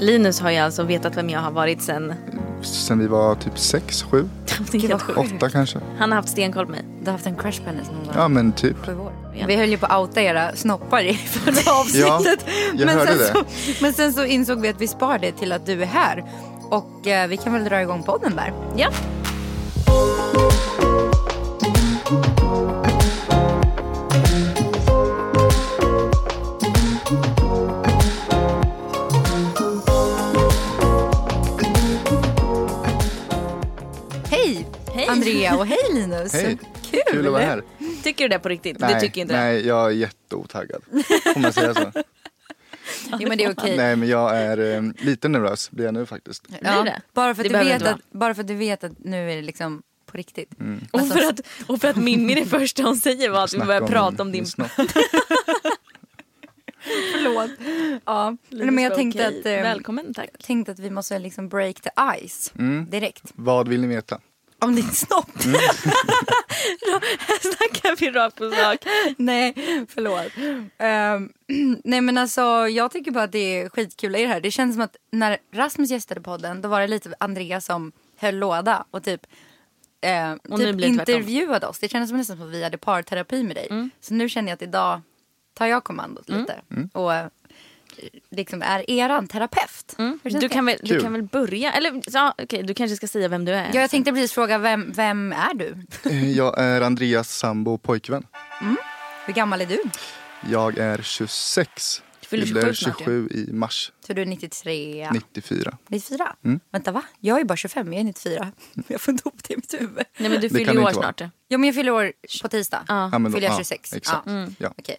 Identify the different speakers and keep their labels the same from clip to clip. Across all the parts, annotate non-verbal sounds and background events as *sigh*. Speaker 1: Linus har ju alltså vetat vem jag har varit sen. *laughs*
Speaker 2: Sen vi var typ sex, sju,
Speaker 1: Det är helt
Speaker 3: vad
Speaker 1: sjukt.
Speaker 3: sjukt.
Speaker 2: åtta kanske.
Speaker 1: Han har haft stenkoll på mig.
Speaker 3: Du har haft en crush på henne sedan hon var
Speaker 2: Ja men typ.
Speaker 3: sju år. Vi höll ju på att outa era snoppar i *laughs* förra
Speaker 2: Ja,
Speaker 3: avsnittet.
Speaker 2: jag
Speaker 3: men,
Speaker 2: hörde
Speaker 3: sen så, men sen så insåg vi att vi spar det till att du är här. Och eh, vi kan väl dra igång podden där.
Speaker 1: Ja.
Speaker 3: Hej,
Speaker 1: Hej.
Speaker 3: Andrea *laughs* och hej Linus.
Speaker 2: Hej.
Speaker 3: Kul.
Speaker 2: Kul att vara här.
Speaker 1: Tycker du det på riktigt?
Speaker 2: Nej,
Speaker 1: du tycker inte det?
Speaker 2: nej jag är jätteotaggad. Får man
Speaker 1: *laughs*
Speaker 2: säga så?
Speaker 3: Jo men det är okej.
Speaker 2: Nej men jag är eh, lite nervös, blir jag nu faktiskt.
Speaker 1: Blir det?
Speaker 3: Bara, för
Speaker 1: Det
Speaker 3: att du
Speaker 1: behöver
Speaker 3: vet
Speaker 1: inte
Speaker 3: att, bara för att du vet att nu är det liksom på riktigt.
Speaker 2: Mm.
Speaker 3: Alltså-
Speaker 1: Och för, att, och för att Mimmi det första hon säger var att vi
Speaker 2: Snacka
Speaker 1: börjar
Speaker 2: om
Speaker 1: prata om din...
Speaker 2: snopp.
Speaker 3: *laughs* Förlåt. Ja.
Speaker 1: Linus
Speaker 3: Men jag
Speaker 1: bara,
Speaker 3: tänkte
Speaker 1: okej,
Speaker 3: att, eh,
Speaker 1: Välkommen tack.
Speaker 3: tänkte att vi måste liksom break the ice
Speaker 2: Mm.
Speaker 3: direkt.
Speaker 2: Vad vill ni veta?
Speaker 3: Om din snopp?
Speaker 1: Här *laughs* snackar vi rakt på sak.
Speaker 3: nej, förlåt. Ehm, *clears throat* nej men alltså jag tycker bara att det är skitkul att er här. Det känns som att när Rasmus gästade podden då var det lite Andrea som höll låda och typ, eh,
Speaker 1: Och nu
Speaker 3: typ
Speaker 1: blir det tvärtom. Mm.
Speaker 3: intervjuade oss. Det kändes som nästan som att vi hade parterapi med dig. Så nu känner jag att idag tar jag kommandot lite och eh, liksom är eran terapeut. Hur känns
Speaker 1: Mm. Du
Speaker 3: det?
Speaker 1: kan, väl, du
Speaker 2: Kul.
Speaker 1: kan väl börja? Eller ja, okej, du kanske ska säga vem du är.
Speaker 3: Ja, jag tänkte precis fråga vem, vem är du?
Speaker 2: Eh, Jag är Andreas sambo och pojkvän.
Speaker 3: Hur gammal är du?
Speaker 2: Jag är 26.
Speaker 1: Fyller 27 snart, ja.
Speaker 2: 27 i mars
Speaker 3: Så du är 93?
Speaker 2: 94.
Speaker 3: 94?
Speaker 2: Mm.
Speaker 3: Vänta va? Jag är bara 25, jag är 94. *laughs* Jag får inte ihop det i mitt huvud.
Speaker 1: Nej men du
Speaker 2: Det
Speaker 1: fyller
Speaker 2: kan
Speaker 1: ju
Speaker 2: det
Speaker 1: år
Speaker 2: inte vara.
Speaker 1: snart.
Speaker 3: Ja men jag fyller år på tisdag.
Speaker 1: Ja.
Speaker 2: Ja, men då-
Speaker 3: fyller jag
Speaker 2: ja,
Speaker 3: 26?
Speaker 2: exakt. Mm. Ja.
Speaker 3: Okej,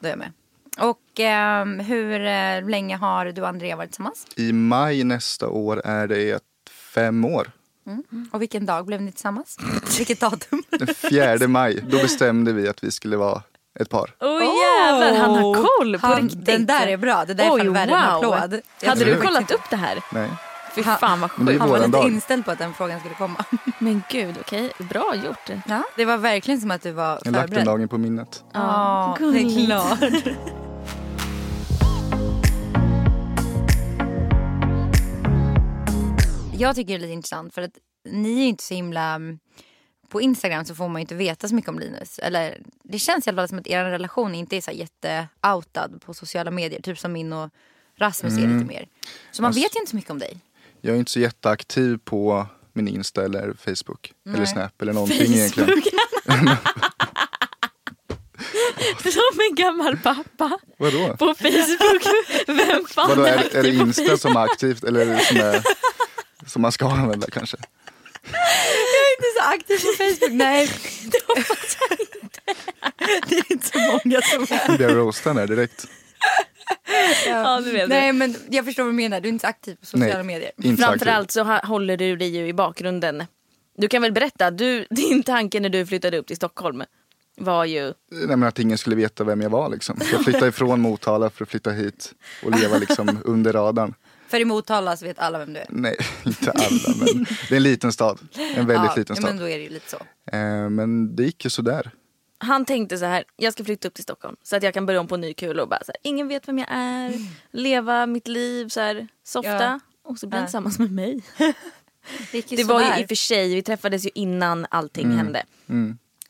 Speaker 3: då är jag med. Och ehm, hur eh, länge har du och Andrea varit tillsammans?
Speaker 2: I maj nästa år är det ett fem år.
Speaker 3: Mm.
Speaker 1: Mm.
Speaker 3: Och vilken dag blev ni tillsammans?
Speaker 1: *laughs*
Speaker 3: Vilket datum?
Speaker 2: Den 4 maj, då bestämde vi att vi skulle vara ett par.
Speaker 1: Åh jävlar, han har koll på
Speaker 3: Han-
Speaker 1: riktigt.
Speaker 3: Den där är bra, det där är fan värre än en applåd. Jag
Speaker 1: Hade
Speaker 3: tror
Speaker 1: du
Speaker 3: faktiskt-
Speaker 1: kollat upp det här?
Speaker 2: Nej.
Speaker 1: Fy fan vad
Speaker 2: Men det är
Speaker 1: sjukt.
Speaker 3: Han var
Speaker 2: våran
Speaker 3: lite
Speaker 2: dag.
Speaker 3: inställd på att den frågan skulle komma.
Speaker 1: Men gud, okej. Bra gjort.
Speaker 3: Ja. Det var verkligen som att du var
Speaker 2: Jag har lagt den
Speaker 3: förberedd.
Speaker 2: dagen på minnet.
Speaker 3: Ja, det är
Speaker 1: Gulligt.
Speaker 3: klart. Jag tycker det är lite intressant för att ni är ju inte så himla... mm, På Instagram så får man ju inte veta så mycket om Linus. Eller det känns i alla fall som att er relation inte är så här jätteoutad på sociala medier. Typ som min och Rasmus är lite mer. Så man
Speaker 2: Alltså-
Speaker 3: vet ju inte så mycket om dig.
Speaker 2: Jag är inte så jätteaktiv på min Insta eller Facebook. Eller Snap eller någonting egentligen.
Speaker 1: *laughs* Som en gammal pappa
Speaker 2: Vadå?
Speaker 1: på Facebook. Vem fan
Speaker 2: Vadå,
Speaker 1: är
Speaker 2: är, är det
Speaker 1: aktiv på
Speaker 2: Insta som är aktivt eller är det som, är, som man ska använda kanske?
Speaker 3: Du är så aktiv på Facebook. Nej, *laughs* det hoppas jag inte. Det är inte så många som *laughs* är.
Speaker 2: Nu blir jag roastad där direkt.
Speaker 1: Ja, du vet
Speaker 3: Nej men jag förstår vad du menar, du är inte så aktiv på sociala
Speaker 2: Nej,
Speaker 3: medier.
Speaker 2: inte så aktiv.
Speaker 1: Framförallt så ha- håller du dig ju i bakgrunden. Du kan väl berätta, du, *laughs* din tanke när du flyttade upp till Stockholm var ju...
Speaker 2: Nej, men att ingen skulle veta vem jag var liksom. Jag flyttade ifrån Motala för att flytta hit och leva
Speaker 3: *laughs*
Speaker 2: liksom under radarn.
Speaker 3: För i Motala så vet alla vem du är.
Speaker 2: Nej, *laughs* inte alla men det är en liten stad. En väldigt
Speaker 3: ja,
Speaker 2: liten
Speaker 3: ja,
Speaker 2: stad.
Speaker 3: Men då är det ju lite så.
Speaker 2: Eh, men det gick ju sådär.
Speaker 1: Han tänkte så här, jag ska flytta upp till Stockholm så att jag kan börja om på ny kula och bara så här, ingen vet vem jag är, leva mitt liv så här, softa.
Speaker 3: Ja.
Speaker 1: Och så blir han
Speaker 3: Ja.
Speaker 1: tillsammans med mig.
Speaker 3: Det, gick ju
Speaker 1: Det var ju
Speaker 3: sådär.
Speaker 1: i och för sig, vi träffades ju innan allting
Speaker 2: Mm.
Speaker 1: hände.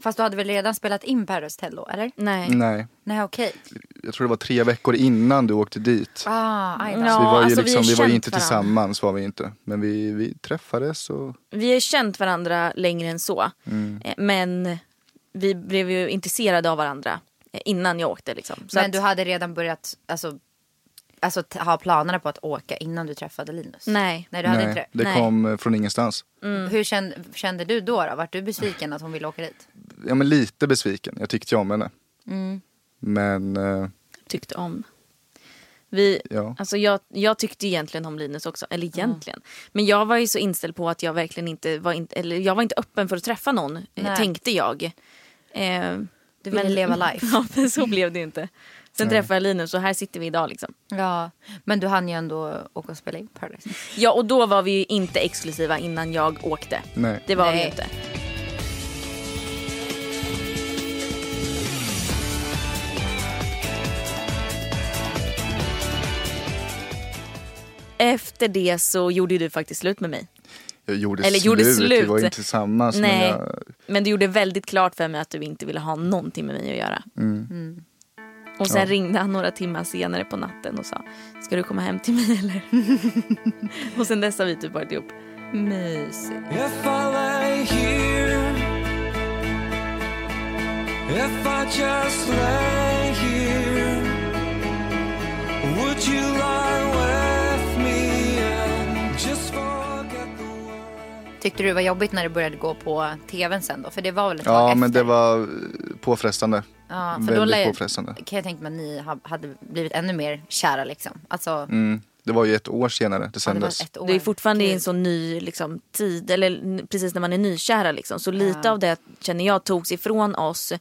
Speaker 3: Fast du hade väl redan spelat in Paradise Hotel då eller?
Speaker 1: Nej.
Speaker 2: Nej,
Speaker 3: Nej okej.
Speaker 2: jag tror det var tre veckor innan du åkte dit.
Speaker 3: Ah, aj då.
Speaker 1: Ja,
Speaker 2: Så vi var ju,
Speaker 1: alltså, vi har
Speaker 2: liksom, vi var ju
Speaker 1: känt
Speaker 2: inte
Speaker 1: varandra.
Speaker 2: tillsammans var vi inte. Men vi, vi träffades och
Speaker 1: Vi har ju känt varandra längre än så. Eh, Men vi blev ju intresserade av varandra eh, innan jag åkte. Liksom. Så
Speaker 3: Men
Speaker 1: att-
Speaker 3: du hade redan börjat alltså, alltså, t- ha planerna på att åka innan du träffade Linus?
Speaker 1: Nej.
Speaker 3: Nej du hade
Speaker 2: nej,
Speaker 3: inte det.
Speaker 2: det
Speaker 1: Nej.
Speaker 2: kom eh, från ingenstans.
Speaker 3: Hur kände, kände du då, då? Vart du besviken att hon ville åka dit?
Speaker 2: Ja men lite besviken, jag tyckte ju om henne.
Speaker 3: Mm.
Speaker 2: Men eh,
Speaker 1: tyckte om. Vi,
Speaker 2: Ja.
Speaker 1: alltså jag, jag tyckte egentligen om Linus också. Eller egentligen. Men jag var ju så inställd på att jag verkligen inte var, in, eller jag var inte öppen för att träffa någon. eh,
Speaker 3: Nej.
Speaker 1: Tänkte jag. Eh,
Speaker 3: Du
Speaker 1: *laughs*
Speaker 3: ville leva life.
Speaker 1: Ja, men så blev det ju inte. Sen träffade jag Linus och här sitter vi idag. Liksom.
Speaker 3: *laughs* Ja, men du hann ju ändå åka och spela in Paradise.
Speaker 1: Ja, och då var vi ju inte exklusiva innan jag åkte.
Speaker 2: nej.
Speaker 1: Det var vi ju
Speaker 3: Nej.
Speaker 1: inte. Efter det så gjorde ju du faktiskt slut med mig.
Speaker 2: Jag gjorde
Speaker 1: Eller
Speaker 2: slut,
Speaker 1: gjorde
Speaker 2: vi
Speaker 1: slut.
Speaker 2: var inte tillsammans. Alltså, Men
Speaker 1: Nej.
Speaker 2: jag,
Speaker 1: Men du gjorde väldigt klart för mig att du inte ville ha någonting med mig att göra. Mm. Och sen
Speaker 2: Mm. Ja.
Speaker 1: ringde han några timmar senare på natten och sa Ska du komma hem till mig *laughs* eller? och sen dess har vi typ varit ihop.
Speaker 3: Mysigt.
Speaker 4: If I lay here, if I just lay here, would you lie with me and just forget the world?
Speaker 3: Tyckte du det var jobbigt när det började gå på tvn sen då? För det var väl ett tag
Speaker 2: ja,
Speaker 3: efter?
Speaker 2: men det var eh, påfrestande.
Speaker 3: Ja, för då
Speaker 2: Väldigt
Speaker 3: lär-
Speaker 2: påfrestande.
Speaker 3: Kan jag tänka mig att ni ha- hade blivit ännu mer kära liksom. Alltså,
Speaker 2: Mm. Det var ju ett år senare det
Speaker 3: ja, det var
Speaker 2: sändes.
Speaker 3: ett år.
Speaker 1: Du är fortfarande i en
Speaker 3: Gud.
Speaker 1: sån ny liksom, tid, eller n- precis när man är nykära. Liksom. Så lite av det känner jag togs ifrån oss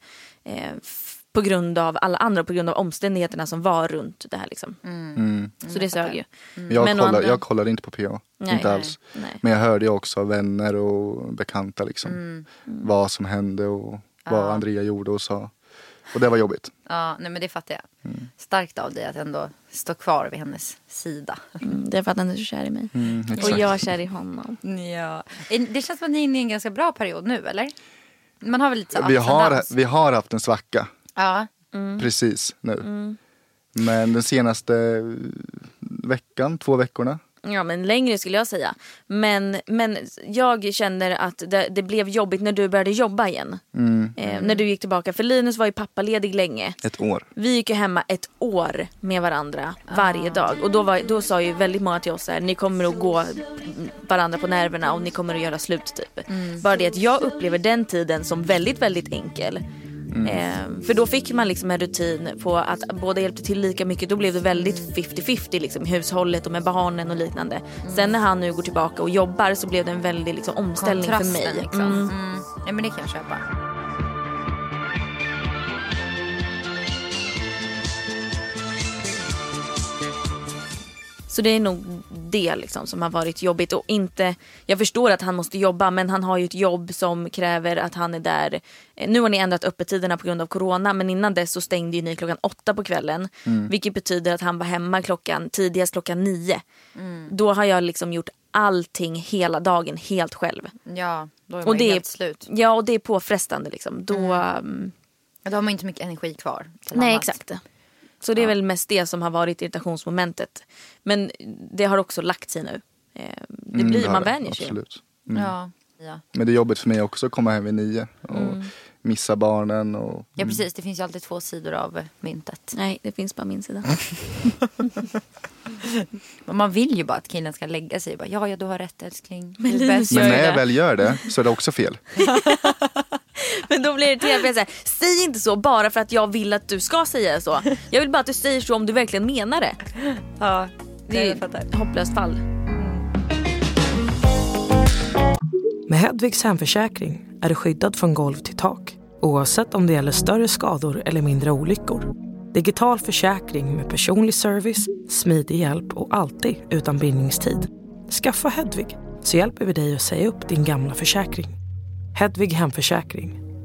Speaker 1: eh, f- på grund av alla andra, på grund av omständigheterna som var runt det här. Liksom.
Speaker 3: Mm.
Speaker 2: Mm.
Speaker 1: Så det sög ju.
Speaker 2: jag,
Speaker 1: Men å
Speaker 2: kollade,
Speaker 1: andra-
Speaker 2: jag kollade inte på PA.
Speaker 1: Nej,
Speaker 2: inte
Speaker 1: nej,
Speaker 2: alls.
Speaker 1: nej.
Speaker 2: Men jag hörde ju också av vänner och bekanta liksom,
Speaker 1: Mm.
Speaker 2: vad som hände och vad Andrea gjorde och sa. Och det var jobbigt.
Speaker 3: Ja, nej men det fattar jag.
Speaker 2: Mm.
Speaker 3: Starkt av dig att ändå stå kvar vid hennes sida.
Speaker 1: Mm, det är för att han är så kär i mig. och
Speaker 2: Mm, exakt.
Speaker 1: jag är kär i honom.
Speaker 3: *laughs* Ja. Det känns som att ni är inne i en ganska bra period nu, eller? Man har väl lite så
Speaker 2: Vi
Speaker 3: ups and
Speaker 2: har,
Speaker 3: downs.
Speaker 2: vi har haft en svacka
Speaker 3: Ja.
Speaker 1: Mm.
Speaker 2: precis nu. Men den senaste veckan, två veckorna.
Speaker 1: Ja men längre skulle jag säga. Men, men jag känner att det, det blev jobbigt när du började jobba igen.
Speaker 2: Mm.
Speaker 1: Eh, när du gick tillbaka. För Linus var ju pappaledig länge.
Speaker 2: Ett år.
Speaker 1: Vi gick ju hemma ett år med varandra varje dag. Och då, var, då sa ju väldigt många till oss så här, ni kommer att gå varandra på nerverna och ni kommer att göra slut typ.
Speaker 3: Mm.
Speaker 1: Bara det att jag upplever den tiden som väldigt, väldigt enkel.
Speaker 3: Mm.
Speaker 1: Eh, för då fick man liksom en rutin på att båda hjälpte till lika mycket. Då blev det väldigt 50-50 liksom, i hushållet och med barnen och liknande.
Speaker 3: Mm.
Speaker 1: Sen när han nu går tillbaka och jobbar så blev det en väldig liksom, omställning för
Speaker 3: Kontrasten
Speaker 1: mig.
Speaker 3: liksom.
Speaker 1: Mm.
Speaker 3: Mm. Ja, men det kan jag köpa.
Speaker 1: Så det är nog det liksom som har varit jobbigt. Och inte, jag förstår att han måste jobba men han har ju ett jobb som kräver att han är där. Eh, Nu har ni ändrat öppettiderna på grund av corona men innan dess så stängde ju ni klockan åtta på kvällen. Vilket betyder att han var hemma klockan, tidigast klockan nio. Då har jag liksom gjort allting hela dagen helt själv.
Speaker 3: Ja, då är
Speaker 1: Och
Speaker 3: man
Speaker 1: det
Speaker 3: ju
Speaker 1: är-
Speaker 3: helt slut.
Speaker 1: Ja och det är påfrestande liksom. Då, mm.
Speaker 3: Då har man ju inte mycket energi kvar. till
Speaker 1: Nej
Speaker 3: annat.
Speaker 1: exakt. Så det är väl mest det som har varit irritationsmomentet. Men det har också lagt sig nu. Eh, Det
Speaker 2: Mm,
Speaker 1: blir,
Speaker 2: det har
Speaker 1: man
Speaker 2: det,
Speaker 1: vänjer sig.
Speaker 2: Absolut.
Speaker 3: Ja. ja.
Speaker 2: Men det är jobbigt för mig också att komma hem vid nio och
Speaker 1: Mm.
Speaker 2: missa barnen. Och,
Speaker 3: Ja precis, det finns ju alltid två sidor av myntet.
Speaker 1: Nej, det finns bara min sida. *laughs*
Speaker 3: Men Man vill ju bara att killen ska lägga sig. Bara, ja, ja, du har rätt älskling.
Speaker 1: Men
Speaker 3: Du är
Speaker 1: Linus
Speaker 3: bäst."
Speaker 1: gör
Speaker 2: Men
Speaker 1: ju
Speaker 2: när jag
Speaker 1: det.
Speaker 2: väl gör det så är det också fel.
Speaker 1: Men då blir det till att jag säger säg inte så bara för att jag vill att du ska säga så. Jag vill bara att du säger så om du verkligen menar det.
Speaker 3: Ja,
Speaker 1: Det är ju ett hopplöst fall.
Speaker 5: Med Hedvigs hemförsäkring är du skyddad från golv till tak oavsett om det gäller större skador eller mindre olyckor. Digital försäkring med personlig service, smidig hjälp och alltid utan bindningstid. Skaffa Hedvig så hjälper vi dig att säga upp din gamla försäkring. Hedvig hemförsäkring,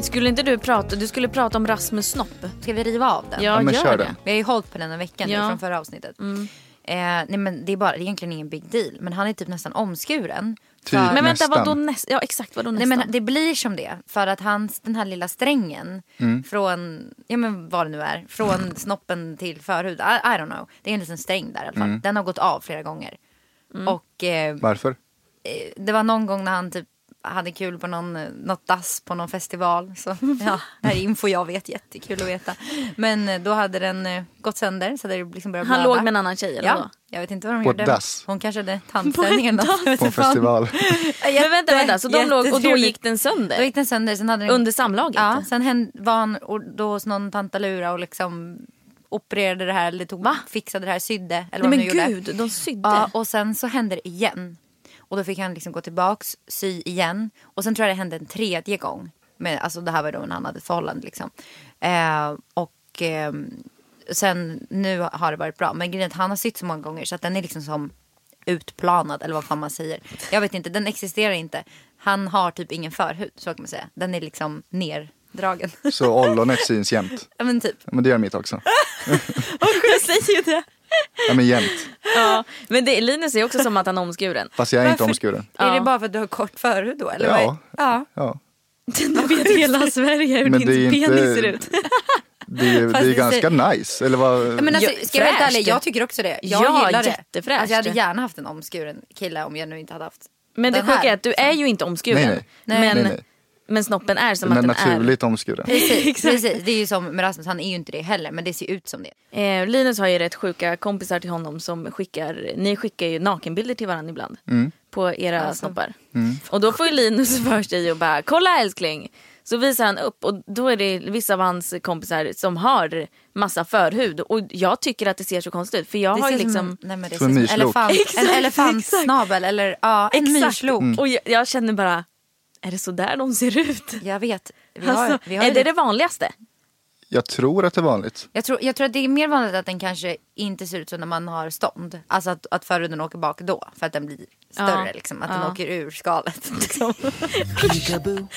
Speaker 1: Skulle inte du prata, du skulle prata om Rasmus Snopp.
Speaker 3: Ska vi riva av den?
Speaker 2: men kör den.
Speaker 3: Vi har ju hållit på den en vecka nu
Speaker 1: Ja.
Speaker 3: från förra avsnittet.
Speaker 6: Mm.
Speaker 3: Eh, nej, men det är, bara, det är egentligen ingen big deal. Men han är typ nästan omskuren.
Speaker 2: Typ.
Speaker 1: Men vänta,
Speaker 2: Nästan.
Speaker 1: vad då nästa? Ja exakt, vad då
Speaker 3: Nej,
Speaker 1: nästan?
Speaker 3: men det blir som det. För att hans, den här lilla strängen från, ja men vad det nu är, från snoppen till förhud. I, I don't know. Det är en liten sträng där i alla fall. Den har gått av flera gånger.
Speaker 6: Mm.
Speaker 3: Och eh,
Speaker 2: Varför?
Speaker 3: eh, det var någon gång när han typ hade kul på någon, eh, något dass på någon festival. Så
Speaker 1: *laughs*
Speaker 3: ja, *laughs* det här är info jag vet, jättekul att veta. Men eh, då hade den eh, gått sönder så hade det liksom börjat
Speaker 1: Han
Speaker 3: blöda.
Speaker 1: låg med en annan tjej eller
Speaker 3: Ja,
Speaker 1: vadå?
Speaker 3: jag vet inte vad de
Speaker 2: På ett
Speaker 3: gjorde.
Speaker 2: dass?
Speaker 3: Hon kanske hade tandställning eller något. jag vet
Speaker 1: *laughs*
Speaker 2: På en
Speaker 3: inte fan.
Speaker 2: festival.
Speaker 1: Men vänta, vänta, så de låg och då
Speaker 3: jättetrevligt.
Speaker 1: gick den sönder?
Speaker 3: Då gick den sönder. Sen hade den...
Speaker 1: Under samlaget?
Speaker 3: Ja, sen hände, var han och då hos någon tantalura och liksom opererade det här eller tog, fixade det här, sydde
Speaker 1: Nej
Speaker 3: eller vad
Speaker 1: men
Speaker 3: de nu gjorde.
Speaker 1: *laughs* gud, de sydde.
Speaker 3: Ja, och sen så hände det igen. Och då fick han liksom gå tillbaks, sy igen. Och sen tror jag det hände en tredje gång. Men, alltså det här var då när han hade ett förhållande liksom. Eh, och eh, sen nu har det varit bra. Men grejen är att han har sytt så många gånger så att den är liksom som utplanad eller vad fan man säger. Jag vet inte, den existerar inte. Han har typ ingen förhud så kan man säga. Den är liksom nerdragen.
Speaker 2: Så ollonet syns jämt.
Speaker 3: *laughs* ja men typ.
Speaker 2: Ja, Men det gör mitt också.
Speaker 1: Jag säger ju det.
Speaker 2: Ja, men jämt.
Speaker 1: Ja. Men det, Linus är också som att han är *laughs* omskuren.
Speaker 2: Fast jag är inte omskuren.
Speaker 3: Är det bara för att du har kort förhud då? Eller vad är-
Speaker 2: Ja.
Speaker 3: ja.
Speaker 2: Ja.
Speaker 1: Nu vet hela Sverige hur
Speaker 2: Men
Speaker 1: din
Speaker 2: det är ju
Speaker 1: penis
Speaker 2: inte-
Speaker 1: ser ut.
Speaker 2: Det är, det är
Speaker 3: det
Speaker 2: ganska nice. Eller vad?
Speaker 3: Ja, Men alltså,
Speaker 1: Ja,
Speaker 3: ska jag vara helt
Speaker 1: fräscht.
Speaker 3: ärlig, jag tycker också det. Jag
Speaker 1: Ja,
Speaker 3: gillar det.
Speaker 1: jättefräscht.
Speaker 3: Alltså, jag hade gärna haft en omskuren kille om jag nu inte
Speaker 1: *laughs*
Speaker 3: hade haft.
Speaker 1: Men det
Speaker 3: den här.
Speaker 1: sjuka är att du är ju inte omskuren.
Speaker 2: Nej,
Speaker 3: nej.
Speaker 1: Men,
Speaker 2: Nej, nej.
Speaker 1: men snoppen är som
Speaker 2: Men
Speaker 1: att den
Speaker 2: naturligt omskuren.
Speaker 3: Precis, precis. Det är ju som med Rasmus, han är ju inte det heller men det ser ju ut som det.
Speaker 1: är. Eh, Linus har ju rätt sjuka kompisar till honom som skickar, ni skickar ju nakenbilder till varandra ibland.
Speaker 2: Mm.
Speaker 1: På era snoppar. Och då får ju Linus *laughs* för sig och bara, kolla älskling. Så visar han upp och då är det vissa av hans kompisar som har massa förhud. Och jag tycker att det ser så konstigt ut. För jag
Speaker 3: Det
Speaker 1: har
Speaker 3: ser
Speaker 1: ju liksom...
Speaker 3: som, nej, men
Speaker 2: Som
Speaker 3: det ser
Speaker 2: en
Speaker 3: som
Speaker 2: myrslok.
Speaker 3: elefant, en
Speaker 1: Exakt,
Speaker 3: elefantsnabel eller ja, en
Speaker 1: Exakt. Mm.
Speaker 3: myrslok.
Speaker 1: Och jag, jag känner bara, är det så där de ser ut?
Speaker 3: Jag vet. Vi har,
Speaker 1: Alltså,
Speaker 3: vi har
Speaker 1: är
Speaker 3: ju
Speaker 1: det
Speaker 3: det.
Speaker 1: det vanligaste?
Speaker 2: Jag tror att det är vanligt.
Speaker 3: Jag, tror, jag tror att det är mer vanligt att den kanske inte ser ut som när man har stånd. Alltså att, att förhuden åker bak då för att den blir större
Speaker 1: Ja.
Speaker 3: liksom. Att
Speaker 1: Ja.
Speaker 3: den åker ur skalet. *laughs* Liksom.
Speaker 2: Jag
Speaker 3: Nej,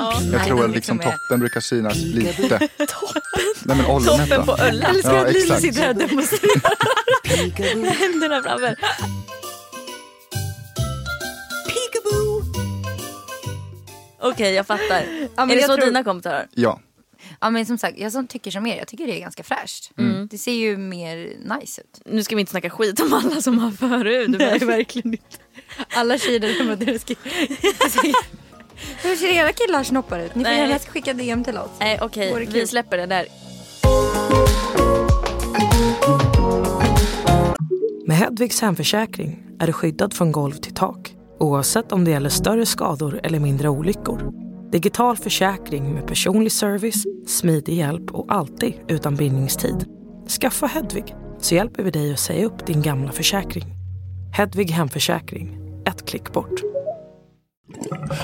Speaker 2: tror
Speaker 3: den
Speaker 2: att liksom
Speaker 3: liksom är-
Speaker 2: toppen brukar synas lite. Toppen? Nej men ollonet
Speaker 1: Toppen på
Speaker 2: va?
Speaker 1: ölen. Jag älskar
Speaker 2: Ja,
Speaker 1: att Lina
Speaker 2: exakt.
Speaker 1: sitter här och
Speaker 2: *laughs*
Speaker 1: demonstrerar med händerna framför. Okej, jag fattar.
Speaker 3: men
Speaker 1: är det
Speaker 3: jag
Speaker 1: så
Speaker 3: tror-
Speaker 1: dina kompisar
Speaker 2: Ja. *laughs*
Speaker 3: Ja men som sagt, jag som tycker som er, jag tycker det är ganska fräscht.
Speaker 6: Mm.
Speaker 3: Det ser ju mer nice ut.
Speaker 1: Nu ska vi inte snacka skit om alla som har förhud. Nej, verkligen inte.
Speaker 3: Alla tjejer där hemma, deras *laughs* Hur ser era killars snoppar ut? Ni får
Speaker 1: Nej.
Speaker 3: gärna skicka DM till oss.
Speaker 1: Nej, okej.
Speaker 3: Vore kul.
Speaker 1: vi släpper det där.
Speaker 5: Med Hedvigs hemförsäkring är du skyddad från golv till tak oavsett om det gäller större skador eller mindre olyckor. Digital försäkring med personlig service, smidig hjälp och alltid utan bindningstid. Skaffa Hedvig så hjälper vi dig att säga upp din gamla försäkring. Hedvig hemförsäkring, ett klick bort.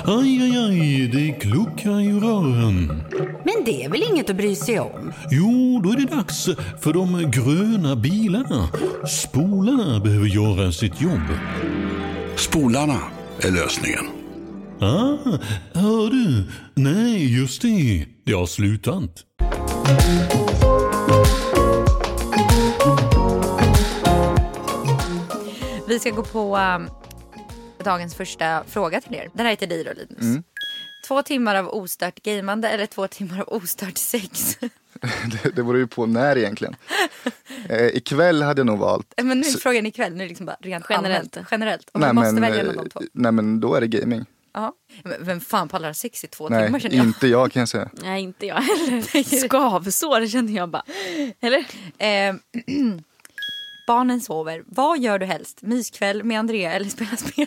Speaker 7: Aj, aj, aj, det kluckar i rören.
Speaker 6: Men det är väl inget att bry sig om?
Speaker 7: Jo, då är det dags för de gröna bilarna. Spolarna behöver göra sitt jobb.
Speaker 8: Spolarna är lösningen.
Speaker 7: Ah, hör du? Nej, just det. Det har slutat.
Speaker 3: Vi ska gå på um, dagens första fråga till er. Den här är till dig då Linus.
Speaker 6: Mm.
Speaker 3: Två timmar av ostört gameande eller två timmar av ostört sex? *laughs*
Speaker 2: Det, det beror ju på när egentligen. Eh, ikväll hade jag nog valt.
Speaker 3: men nu är frågan ikväll, nu är det liksom bara rent
Speaker 1: Generellt.
Speaker 3: allmänt. Generellt. Om man måste välja någon av de två.
Speaker 2: eh, nej men då är det gaming.
Speaker 3: Ja. Men vem fan pallar ha sex i två timmar
Speaker 2: Nej,
Speaker 3: känner jag.
Speaker 2: inte jag kan jag säga.
Speaker 1: Nej, inte jag
Speaker 3: *laughs*
Speaker 1: heller. Skavsår känner jag bara. Eller?
Speaker 3: Eh, *clears throat* barnen sover. Vad gör du helst? Myskväll med Andrea eller spela *laughs* spel?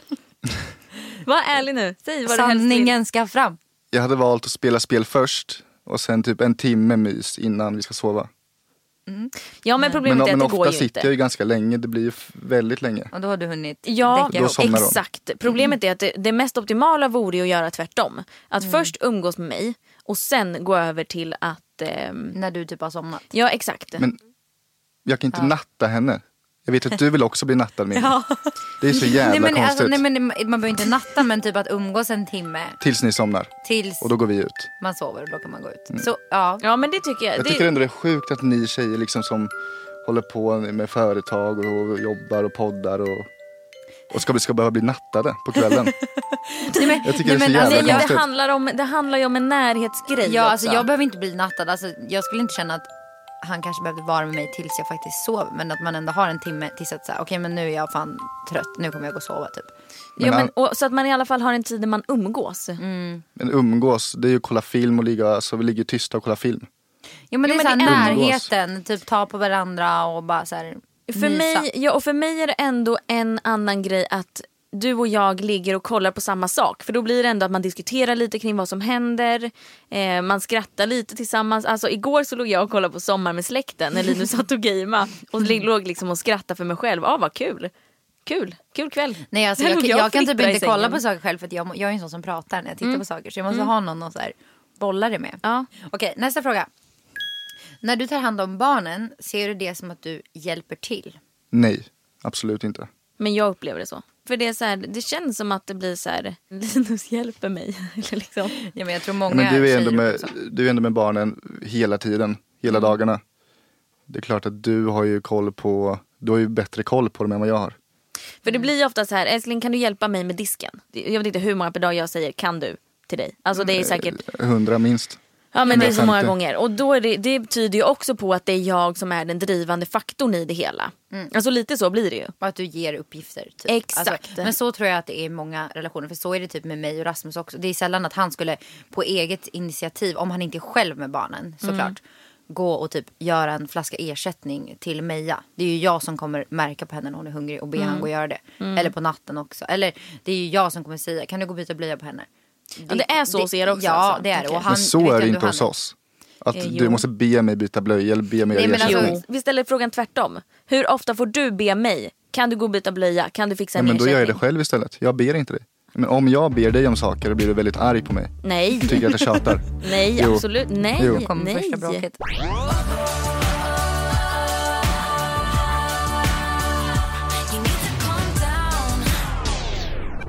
Speaker 1: Var ärlig nu. Säg vad du helst vill.
Speaker 3: Sanningen ska fram.
Speaker 2: Jag hade valt att spela spel först och sen typ en timme mys innan vi ska sova.
Speaker 1: Ja, men
Speaker 2: Men,
Speaker 1: problemet är
Speaker 2: men
Speaker 1: att det går
Speaker 2: ofta
Speaker 1: ju inte.
Speaker 2: sitter jag ju ganska länge, det blir ju f- väldigt länge.
Speaker 3: Och då har du hunnit
Speaker 1: Ja,
Speaker 3: däcka
Speaker 2: Då
Speaker 3: ihop.
Speaker 2: så- somnar de.
Speaker 1: exakt. Problemet är att det, det mest optimala vore ju att göra tvärtom. Att
Speaker 3: Mm.
Speaker 1: först umgås med mig och sen gå över till att... ehm,
Speaker 3: När du typ har somnat.
Speaker 1: ja, exakt.
Speaker 2: Men jag kan inte natta henne. Jag vet att du vill också bli nattad
Speaker 3: *laughs*
Speaker 2: med. Det är så jävla
Speaker 3: Nej men,
Speaker 2: konstigt.
Speaker 3: alltså, nej, men man behöver inte natta men typ att umgås en timme
Speaker 2: Tills ni somnar
Speaker 3: tills
Speaker 2: och då Mm. går vi ut.
Speaker 3: man sover och då kan man gå ut. Så ja,
Speaker 1: ja, men det tycker jag.
Speaker 2: Jag
Speaker 1: det,
Speaker 2: tycker ändå det är sjukt att ni tjejer liksom som håller på med företag och jobbar och poddar och, och ska, ska behöva bli nattade på kvällen.
Speaker 3: *laughs* nej, men, alltså,
Speaker 2: Jag tycker Alltså,
Speaker 3: nej,
Speaker 2: det är så
Speaker 1: Nej,
Speaker 2: jävla
Speaker 1: men det,
Speaker 2: konstigt.
Speaker 1: handlar om, det handlar ju om en närhetsgrej
Speaker 3: Ja,
Speaker 1: också.
Speaker 3: alltså, jag behöver inte bli nattad. Alltså, jag skulle inte känna att han kanske behövde vara med mig tills jag faktiskt sov. Men att man ändå har en timme tills att säga, okej men nu är jag fan trött, nu kommer jag gå och sova typ.
Speaker 1: Jo,
Speaker 2: Men
Speaker 1: men, och, så att man i alla fall har en tid där man umgås.
Speaker 2: Men umgås, det är ju att kolla film och ligga, alltså vi ligger tysta och kollar film.
Speaker 3: Jo men det är så
Speaker 1: det
Speaker 3: här
Speaker 2: är-
Speaker 3: närheten, typ ta på varandra och bara så här
Speaker 1: För
Speaker 3: mysa.
Speaker 1: mig, ja, och för mig är det ändå en annan grej att du och jag ligger och kollar på samma sak. För då blir det ändå att man diskuterar lite kring vad som händer. Eh, man skrattar lite tillsammans. Alltså igår så låg jag och kollade på Sommar med släkten när Linus satt och gamea. Och li- låg liksom och skrattade för mig själv. Ah vad kul. Kul, kul kväll.
Speaker 3: Nej, alltså, jag,
Speaker 1: Tänk om
Speaker 3: jag, kan typ
Speaker 1: fnittrar i
Speaker 3: inte kolla
Speaker 1: sängen.
Speaker 3: på saker själv för att jag, må- jag är en sån som pratar när jag tittar på saker. Så jag måste ha någon att så här, bolla det med.
Speaker 1: Ja.
Speaker 3: Okej, nästa fråga. När du tar hand om barnen, ser du det som att du hjälper till?
Speaker 2: Nej, absolut inte.
Speaker 1: Men jag upplever det så. För det, är så här, det känns som att det blir så här, *laughs* Linus hjälper mig. *laughs* Eller liksom.
Speaker 3: Ja, men jag tror
Speaker 2: Ja,
Speaker 3: många
Speaker 2: men du är, ändå
Speaker 3: tjejer
Speaker 2: med,
Speaker 3: också.
Speaker 2: du är ändå med barnen hela tiden, hela dagarna. Det är klart att du har ju koll på, du har ju bättre koll på dem än vad jag har.
Speaker 1: För
Speaker 2: Mm.
Speaker 1: det blir ju ofta så här, älskling kan du hjälpa mig med disken? Jag vet inte hur många per dag jag säger kan du till dig. Alltså
Speaker 2: Mm.
Speaker 1: det är säkert
Speaker 2: Hundra minst.
Speaker 1: Ja
Speaker 2: Mm.
Speaker 1: men det är så många
Speaker 2: 150.
Speaker 1: gånger. Och då är det, det betyder ju också på att det är jag som är den drivande faktorn i det hela.
Speaker 2: Mm.
Speaker 1: Alltså lite så blir det ju.
Speaker 3: Och att du ger uppgifter. Typ.
Speaker 1: Exakt.
Speaker 3: men så tror jag att det är i många relationer. För så är det typ med mig och Rasmus också. Det är sällan att han skulle på eget initiativ, om han inte är själv med barnen såklart.
Speaker 1: Mm.
Speaker 3: Gå och typ göra en flaska ersättning till Meja. Det är ju jag som kommer märka på henne när hon är hungrig och be
Speaker 1: Mm.
Speaker 3: han gå och göra det. Eller på natten också. Eller det är ju jag som kommer säga, kan du gå och byta blöja på henne?
Speaker 1: Ja, det är så hos er också,
Speaker 3: Ja
Speaker 1: alltså?
Speaker 3: det är det.
Speaker 1: Okej.
Speaker 3: Och han,
Speaker 2: Men
Speaker 3: vet
Speaker 2: så
Speaker 3: jag
Speaker 2: är det
Speaker 3: ändå
Speaker 2: inte
Speaker 3: han-
Speaker 2: hos oss. Att
Speaker 1: Eh,
Speaker 2: du
Speaker 1: jo.
Speaker 2: måste be mig byta blöja eller be mig
Speaker 3: Nej,
Speaker 2: göra
Speaker 3: men alltså-
Speaker 2: ersättning.
Speaker 1: Jo. Vi ställer frågan tvärtom. Hur ofta får du be mig? Kan du gå och byta blöja? Kan du fixa
Speaker 2: ja,
Speaker 1: en
Speaker 2: men då gör jag det
Speaker 1: ersättning?
Speaker 2: själv istället. Jag ber inte dig. Men om jag ber dig om saker då blir du väldigt arg på mig.
Speaker 1: Nej,
Speaker 2: Tycker att jag tjatar.
Speaker 1: nej
Speaker 2: Jo.
Speaker 1: absolut. Nej,
Speaker 2: Jo.
Speaker 3: Då kommer
Speaker 1: nej.
Speaker 3: första bråket.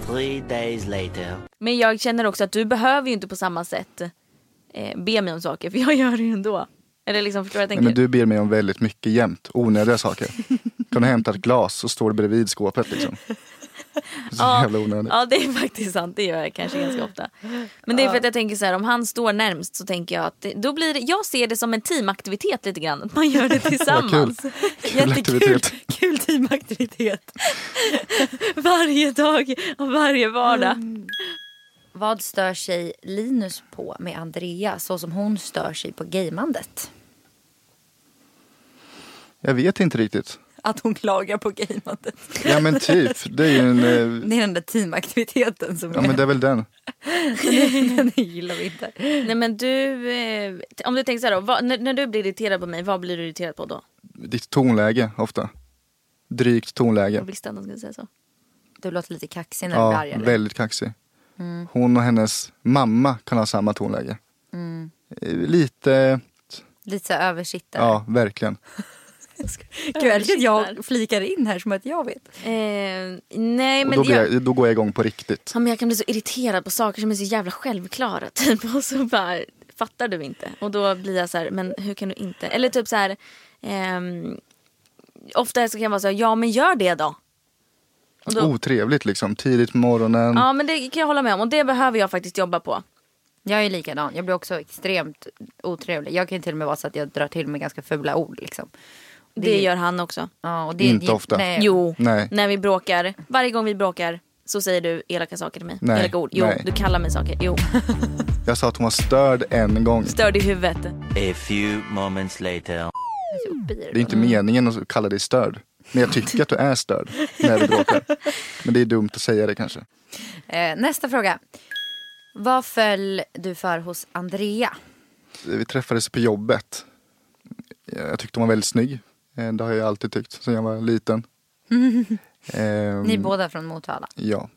Speaker 9: Three days later.
Speaker 1: Men jag känner också att du behöver ju inte på samma sätt eh, be mig om saker *laughs* för jag gör det ju ändå. Eller liksom, förstår du vad jag
Speaker 2: Nej,
Speaker 1: tänker?
Speaker 2: men du ber mig om väldigt mycket jämt. Onödiga saker. Kan du hämta ett glas och står det bredvid skåpet liksom. Så jävla onödigt.
Speaker 1: Ja det är faktiskt sant, det gör jag kanske ganska ofta. Men det är för att jag tänker så här, om han står närmst så tänker jag att det, då blir det, jag ser det som en teamaktivitet lite grann. Att man gör
Speaker 2: *laughs*
Speaker 1: det tillsammans. Jättekul
Speaker 2: aktivitet.
Speaker 1: kul teamaktivitet. varje dag och varje
Speaker 2: Mm.
Speaker 1: vardag.
Speaker 3: Vad stör sig Linus på med Andrea så som hon stör sig på gamandet?
Speaker 2: Jag vet inte riktigt.
Speaker 3: Att hon klagar på gamandet.
Speaker 2: Ja men typ. Det är ju en... eh,
Speaker 3: Det är den där teamaktiviteten som
Speaker 2: Ja men det är väl den.
Speaker 3: den gillar vi inte.
Speaker 1: Nej men du, eh, om du tänker så här då, vad, när, när du blir irriterad på mig, vad blir du irriterad på då?
Speaker 2: Ditt tonläge ofta. Drygt
Speaker 1: Jag
Speaker 2: tonläge.
Speaker 1: visste att han skulle säga så.
Speaker 3: Du låter lite kaxig när du blir
Speaker 2: Ja,
Speaker 3: arg. eller?
Speaker 2: väldigt kaxig.
Speaker 1: Mm.
Speaker 2: Hon och hennes mamma kan ha samma tonläge.
Speaker 1: Mm.
Speaker 2: Eh, Lite...
Speaker 3: Lite så här översittare.
Speaker 2: Ja, verkligen.
Speaker 3: Gud, jag älskar att jag flikar in här som att jag vet.
Speaker 1: Eh, nej men
Speaker 2: och då, blir
Speaker 1: jag-
Speaker 2: jag, då går jag igång på riktigt.
Speaker 1: Ja, men jag kan bli så irriterad på saker som är så jävla självklara. *laughs* Typ. Och så bara, fattar du inte? Och då blir jag så här, men hur kan du inte? Eller typ så här, ehm, ofta så kan jag vara så här, ja men gör det då. Och då
Speaker 2: Otrevligt liksom. Tidigt på morgonen.
Speaker 1: Ja men det kan jag hålla med om och det behöver jag faktiskt jobba på.
Speaker 3: Jag är likadan. Jag blir också extremt otrevlig. Jag kan ju till och med vara så att jag drar till med ganska fula ord. Liksom.
Speaker 1: Det,
Speaker 3: Det- Eh.
Speaker 1: gör han också.
Speaker 3: Ja, och det,
Speaker 2: Inte
Speaker 3: det-
Speaker 2: ofta.
Speaker 3: Nej.
Speaker 1: Jo,
Speaker 2: Nej.
Speaker 1: när vi bråkar, varje gång vi bråkar så säger du elaka saker till mig.
Speaker 2: Nej,
Speaker 1: Elaka ord. Jo,
Speaker 2: nej.
Speaker 1: du kallar mig saker. Jo,
Speaker 2: Jag sa att hon var störd en gång.
Speaker 1: störd i huvudet.
Speaker 9: A few moments later.
Speaker 3: Jag är så uppe i det.
Speaker 2: Det är inte
Speaker 1: Mm.
Speaker 2: meningen att kalla dig störd. Men jag tycker att du är störd när du bråkar. Men det är dumt att säga det kanske.
Speaker 3: Eh, nästa fråga. Vad föll du för hos Andrea?
Speaker 2: Vi träffades på jobbet. Jag tyckte hon var väldigt snygg. Eh, Det har jag alltid tyckt sedan jag var liten. Ehm,
Speaker 3: Ni båda från Motala. Mm.
Speaker 2: Ja,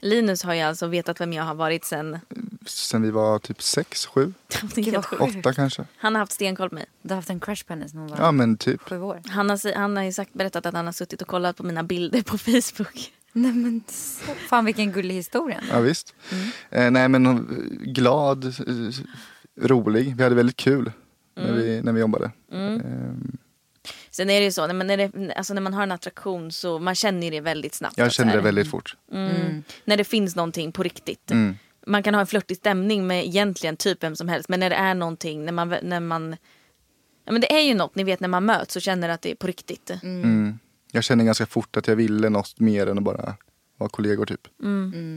Speaker 1: Linus har ju alltså vetat vem jag har varit sen...
Speaker 2: sen vi var typ sex, sju,
Speaker 1: *laughs* Det är helt sjukt.
Speaker 2: åtta kanske.
Speaker 1: Han har haft stenkoll på mig.
Speaker 3: Du har haft en crush på henne sedan hon var
Speaker 2: Ja men typ.
Speaker 3: sju år.
Speaker 1: Han har, han har ju sagt, berättat att han har suttit och kollat på mina bilder på *laughs* Facebook.
Speaker 3: Nej men så- fan vilken gullig historia.
Speaker 2: Ja, visst. Eh, nej men hon- glad, eh, rolig. Vi hade väldigt kul när, vi, när vi jobbade. Ehm,
Speaker 1: Sen är det ju så, när man, när det, alltså när man har en attraktion så man känner ju det väldigt snabbt.
Speaker 2: jag
Speaker 1: att
Speaker 2: kände
Speaker 1: så
Speaker 2: det
Speaker 1: här,
Speaker 2: väldigt Mm. fort.
Speaker 1: Mm, när det finns någonting på riktigt. Man kan ha en flörtig stämning med egentligen typ vem som helst men när det är någonting, när man... När man ja, men det är ju något, ni vet när man möts och känner att det är på riktigt.
Speaker 2: Mm. Jag kände ganska fort att jag ville något mer än att bara vara kollegor typ.
Speaker 3: Ja men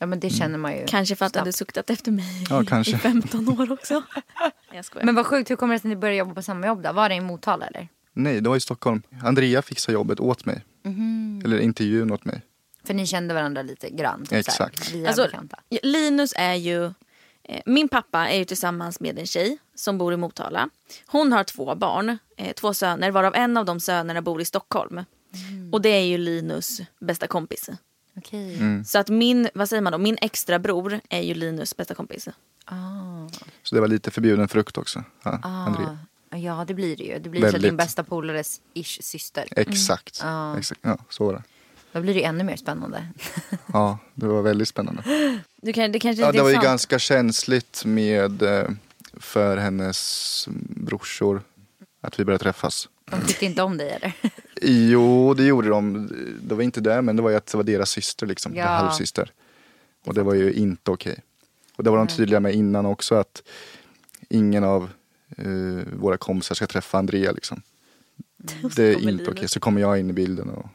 Speaker 2: Mm.
Speaker 3: det känner man ju.
Speaker 1: Kanske för att du
Speaker 3: snabbt.
Speaker 1: hade suktat efter mig
Speaker 2: Ja,
Speaker 1: i-
Speaker 2: kanske.
Speaker 1: i 15 år också. *laughs* Jag skojar.
Speaker 3: Men vad sjukt, hur kommer det sig att ni började jobba på samma jobb då? Var det i Motala eller?
Speaker 2: Nej, det var i Stockholm. Andrea fixade jobbet åt mig.
Speaker 1: Mhm.
Speaker 2: Eller intervjun åt mig.
Speaker 3: För ni kände varandra lite grann. typ
Speaker 2: Exakt.
Speaker 3: så här, Via
Speaker 1: Alltså,
Speaker 3: bekanta.
Speaker 1: Linus är ju... eh, Min pappa är ju tillsammans med en tjej som bor i Motala. Hon har två barn, eh, två söner, varav en av de sönerna bor i Stockholm. Och det är ju Linus bästa kompis.
Speaker 3: Okej.
Speaker 2: Mm.
Speaker 1: Så att min, vad säger man då, min extra bror är ju Linus bästa kompis.
Speaker 3: Ah.
Speaker 2: Så det var lite förbjuden frukt också. Ja,
Speaker 1: Mm.
Speaker 2: Andrea.
Speaker 3: Ah. Ja, det blir det ju. Det blir så
Speaker 2: Väldigt.
Speaker 3: din bästa polares ish syster.
Speaker 2: Exakt.
Speaker 3: Ja.
Speaker 2: Exakt. Ja, så var det.
Speaker 3: Då blir det ju ännu mer spännande. *laughs*
Speaker 2: Ja, det var väldigt spännande.
Speaker 1: Du kan, det kanske
Speaker 2: Ja,
Speaker 1: inte
Speaker 2: det var
Speaker 1: är
Speaker 2: ju
Speaker 1: sant.
Speaker 2: ganska känsligt med eh, för hennes brorsor att vi började träffas.
Speaker 3: De tyckte inte om dig eller?
Speaker 2: Jo, det gjorde de. Det var inte det, men det var ju att det var deras syster liksom.
Speaker 3: Ja.
Speaker 2: Ja. Halvsyster. Och det var ju inte okej. Och det var de tydliga med innan också att ingen av eh, våra kompisar ska träffa Andrea liksom. Det är
Speaker 1: kommer
Speaker 2: inte okej.
Speaker 1: Linus.
Speaker 2: Så kommer jag in i bilden och...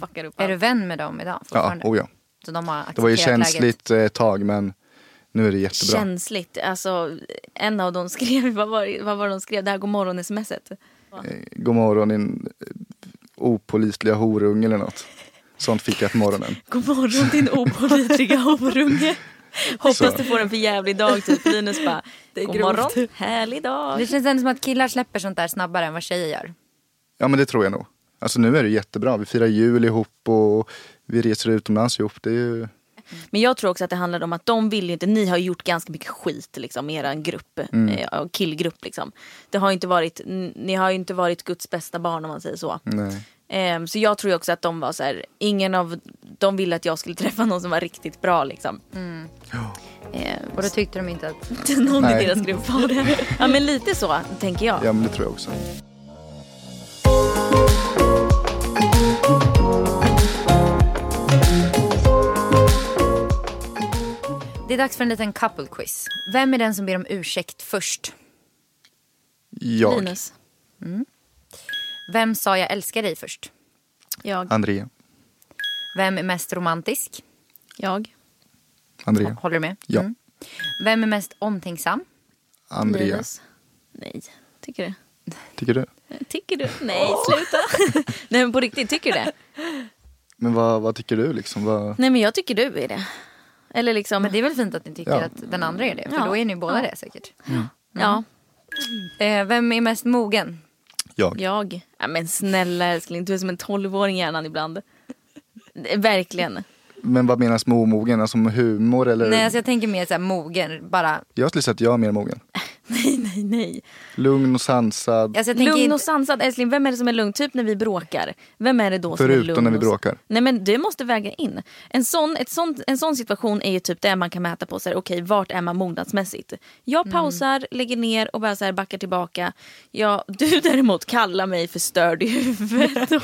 Speaker 1: Fuckar upp
Speaker 3: Är du
Speaker 1: allt.
Speaker 3: vän med dem idag
Speaker 2: Ja,
Speaker 3: fortfarande?
Speaker 2: oh ja.
Speaker 3: Så de har accepterat
Speaker 2: Det var ju
Speaker 3: läget?
Speaker 2: känsligt eh, ett tag men nu är det jättebra.
Speaker 1: Känsligt. Alltså, en av dem *laughs* skrev, vad var, vad var det de skrev? Det här godmorgon-smset.
Speaker 2: God morgon din eh, opolitliga horunge eller något. Sånt fick jag på morgonen.
Speaker 1: God morgon din *laughs* opålitliga horunge. Hoppas
Speaker 2: Så.
Speaker 1: du får en för jävlig dag typ. Linus bara, god morgon, härlig
Speaker 3: Det
Speaker 1: dag.
Speaker 3: känns ändå som att killar släpper sånt där snabbare än vad tjejer gör.
Speaker 2: Ja men det tror jag nog. Alltså nu är det jättebra. Vi firar jul ihop och vi reser utomlands ihop. Det är ju...
Speaker 1: Men jag tror också att det handlar om att de vill ju inte, ni har ju gjort ganska mycket skit liksom i eran grupp,
Speaker 2: Mm.
Speaker 1: eh, killgrupp liksom. Det har ju inte varit, n- ni har ju inte varit Guds bästa barn om man säger så.
Speaker 2: Nej.
Speaker 1: Ehm, så jag tror ju också att de var så här, ingen av, de ville att jag skulle träffa någon som var riktigt bra liksom. Ehm, *laughs*
Speaker 3: Och då tyckte de inte att...
Speaker 1: att någon
Speaker 2: Nej.
Speaker 1: i deras grupp var det. Ja men lite så tänker jag.
Speaker 2: Ja men det tror jag också.
Speaker 3: Det är dags för en liten couple quiz. Vem är den som ber om ursäkt först?
Speaker 2: Jag,
Speaker 1: Linus,
Speaker 3: Vem sa jag älskar dig först?
Speaker 1: jag,
Speaker 2: Andrea.
Speaker 3: Vem är mest romantisk?
Speaker 1: jag,
Speaker 2: Andrea.
Speaker 3: Håller du med?
Speaker 2: Ja.
Speaker 3: Mm. Vem är mest omtänksam?
Speaker 2: Andrea.
Speaker 1: Linus. Nej, tycker du?
Speaker 2: Tycker du?
Speaker 1: Tycker du? Nej, sluta. *laughs* Nej men på riktigt, tycker du det?
Speaker 2: Men vad, vad tycker du liksom? Vad...
Speaker 1: Nej men jag tycker du är det. Eller liksom,
Speaker 3: Men det är väl fint att ni tycker
Speaker 2: Ja.
Speaker 3: att den andra är det? För
Speaker 1: Ja.
Speaker 3: då är ni båda
Speaker 1: Ja.
Speaker 3: det säkert.
Speaker 1: ja,
Speaker 3: Eh, vem är mest mogen?
Speaker 2: Mm. Jag.
Speaker 1: jag. Ja, men snälla älskling, du är som en tolvåring i hjärnan ibland. Det- Verkligen. *laughs*
Speaker 2: Men vad menas med omogen? Alltså med humor eller?
Speaker 3: Nej, alltså jag tänker mer så här mogen. Bara.
Speaker 2: Jag skulle säga att jag är mer mogen.
Speaker 1: Nej, nej, nej.
Speaker 2: Lugn och sansad.
Speaker 3: Alltså jag tänker
Speaker 1: Lugn
Speaker 3: inte-
Speaker 1: och sansad älskling, vem är det som är lugn? Typ när vi bråkar. Vem är det då som är
Speaker 2: Förutom
Speaker 1: lugn?
Speaker 2: när vi
Speaker 1: och s-
Speaker 2: bråkar.
Speaker 1: Nej men det måste väga in. En sån, ett sånt, en sån situation är ju typ det man kan mäta på. så här, Okej, vart är man mognadsmässigt?
Speaker 3: Mm.
Speaker 1: Jag pausar, lägger ner och bara så här backar tillbaka. Ja, du *laughs* däremot kallar mig för störd i huvudet och,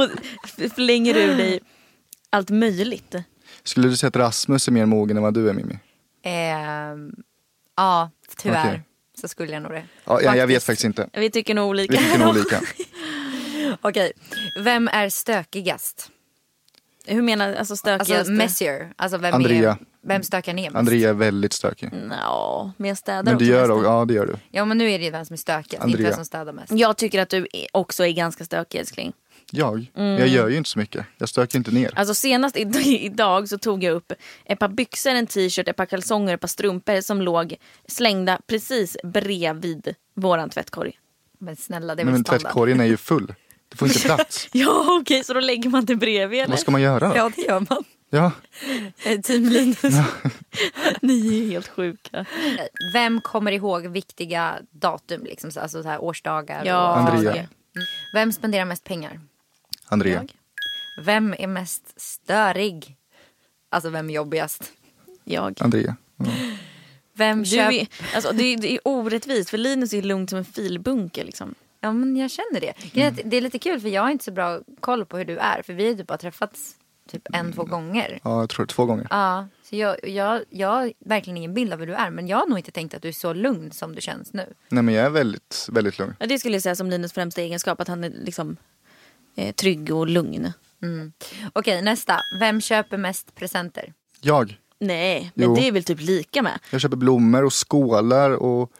Speaker 1: och f- flänger ur dig allt möjligt.
Speaker 2: Skulle du säga att Rasmus är mer mogen än vad du är Mimmi?
Speaker 3: Ehm, ja, tyvärr.
Speaker 2: Okej.
Speaker 3: Så skulle jag nog det.
Speaker 2: Ja, jag, jag vet faktiskt inte.
Speaker 1: Vi tycker nog olika.
Speaker 2: Vi tycker nog olika.
Speaker 3: Okej, vem är stökigast?
Speaker 1: Hur menar du? Alltså stökigast?
Speaker 3: Alltså messier. Alltså vem, är,
Speaker 2: Andrea.
Speaker 3: vem stökar ner mest?
Speaker 2: Andrea är väldigt stökig.
Speaker 1: Mm, Nja, men jag städar
Speaker 2: Men
Speaker 1: också
Speaker 2: du gör
Speaker 1: mest.
Speaker 2: också, ja det gör du.
Speaker 3: Ja men nu är det ju vem som är stökigast, inte
Speaker 2: Andrea.
Speaker 3: vem som städar mest.
Speaker 1: Jag tycker att du är- också är ganska stökig älskling.
Speaker 2: Jag? Men Jag gör ju inte så mycket. Jag stöker inte ner.
Speaker 1: Alltså senast i- *laughs* idag så tog jag upp ett par byxor, en t-shirt, ett par kalsonger, ett par strumpor som låg slängda precis bredvid våran tvättkorg. *laughs*
Speaker 3: Men snälla det är
Speaker 2: Men,
Speaker 3: väl
Speaker 2: men
Speaker 3: standard.
Speaker 2: tvättkorgen är ju full. Det får inte
Speaker 1: *laughs*
Speaker 2: plats.
Speaker 1: Ja okej, så då lägger man det bredvid eller?
Speaker 2: Vad ska man göra då?
Speaker 3: Ja det gör man.
Speaker 2: Ja.
Speaker 1: *laughs*
Speaker 3: Eh, Team Linus.
Speaker 1: Ni är helt sjuka.
Speaker 3: Vem kommer ihåg viktiga datum liksom? så- Alltså så här årsdagar.
Speaker 1: Ja,
Speaker 3: och-
Speaker 2: Andrea.
Speaker 1: okej.
Speaker 3: Vem spenderar mest pengar?
Speaker 2: Andrea.
Speaker 3: Vem är mest störig? Alltså vem är jobbigast?
Speaker 1: Jag.
Speaker 2: Andrea. Ja.
Speaker 3: Vem
Speaker 1: Du
Speaker 3: köper...
Speaker 1: är, alltså, det, är, det är orättvist för Linus är lugnt som en filbunke. Liksom.
Speaker 3: Ja men jag känner det. Grejen är att Det är lite kul för jag har inte så bra koll på hur du är. För vi har ju typ bara träffats typ en, två gånger.
Speaker 2: ja, jag tror det. Två gånger.
Speaker 3: Ja, så jag, jag, jag har verkligen ingen bild av hur du är. Men jag har nog inte tänkt att du är så lugn som du känns nu.
Speaker 2: Nej men jag är väldigt, väldigt lugn.
Speaker 1: Ja, Det skulle jag säga som Linus främsta egenskap, att han är liksom, eh, trygg och lugn.
Speaker 3: Okej, nästa. Vem köper mest presenter?
Speaker 2: Jag.
Speaker 1: Nej, men
Speaker 2: Jo.
Speaker 1: det är väl typ lika med.
Speaker 2: Jag köper blommor och skålar och...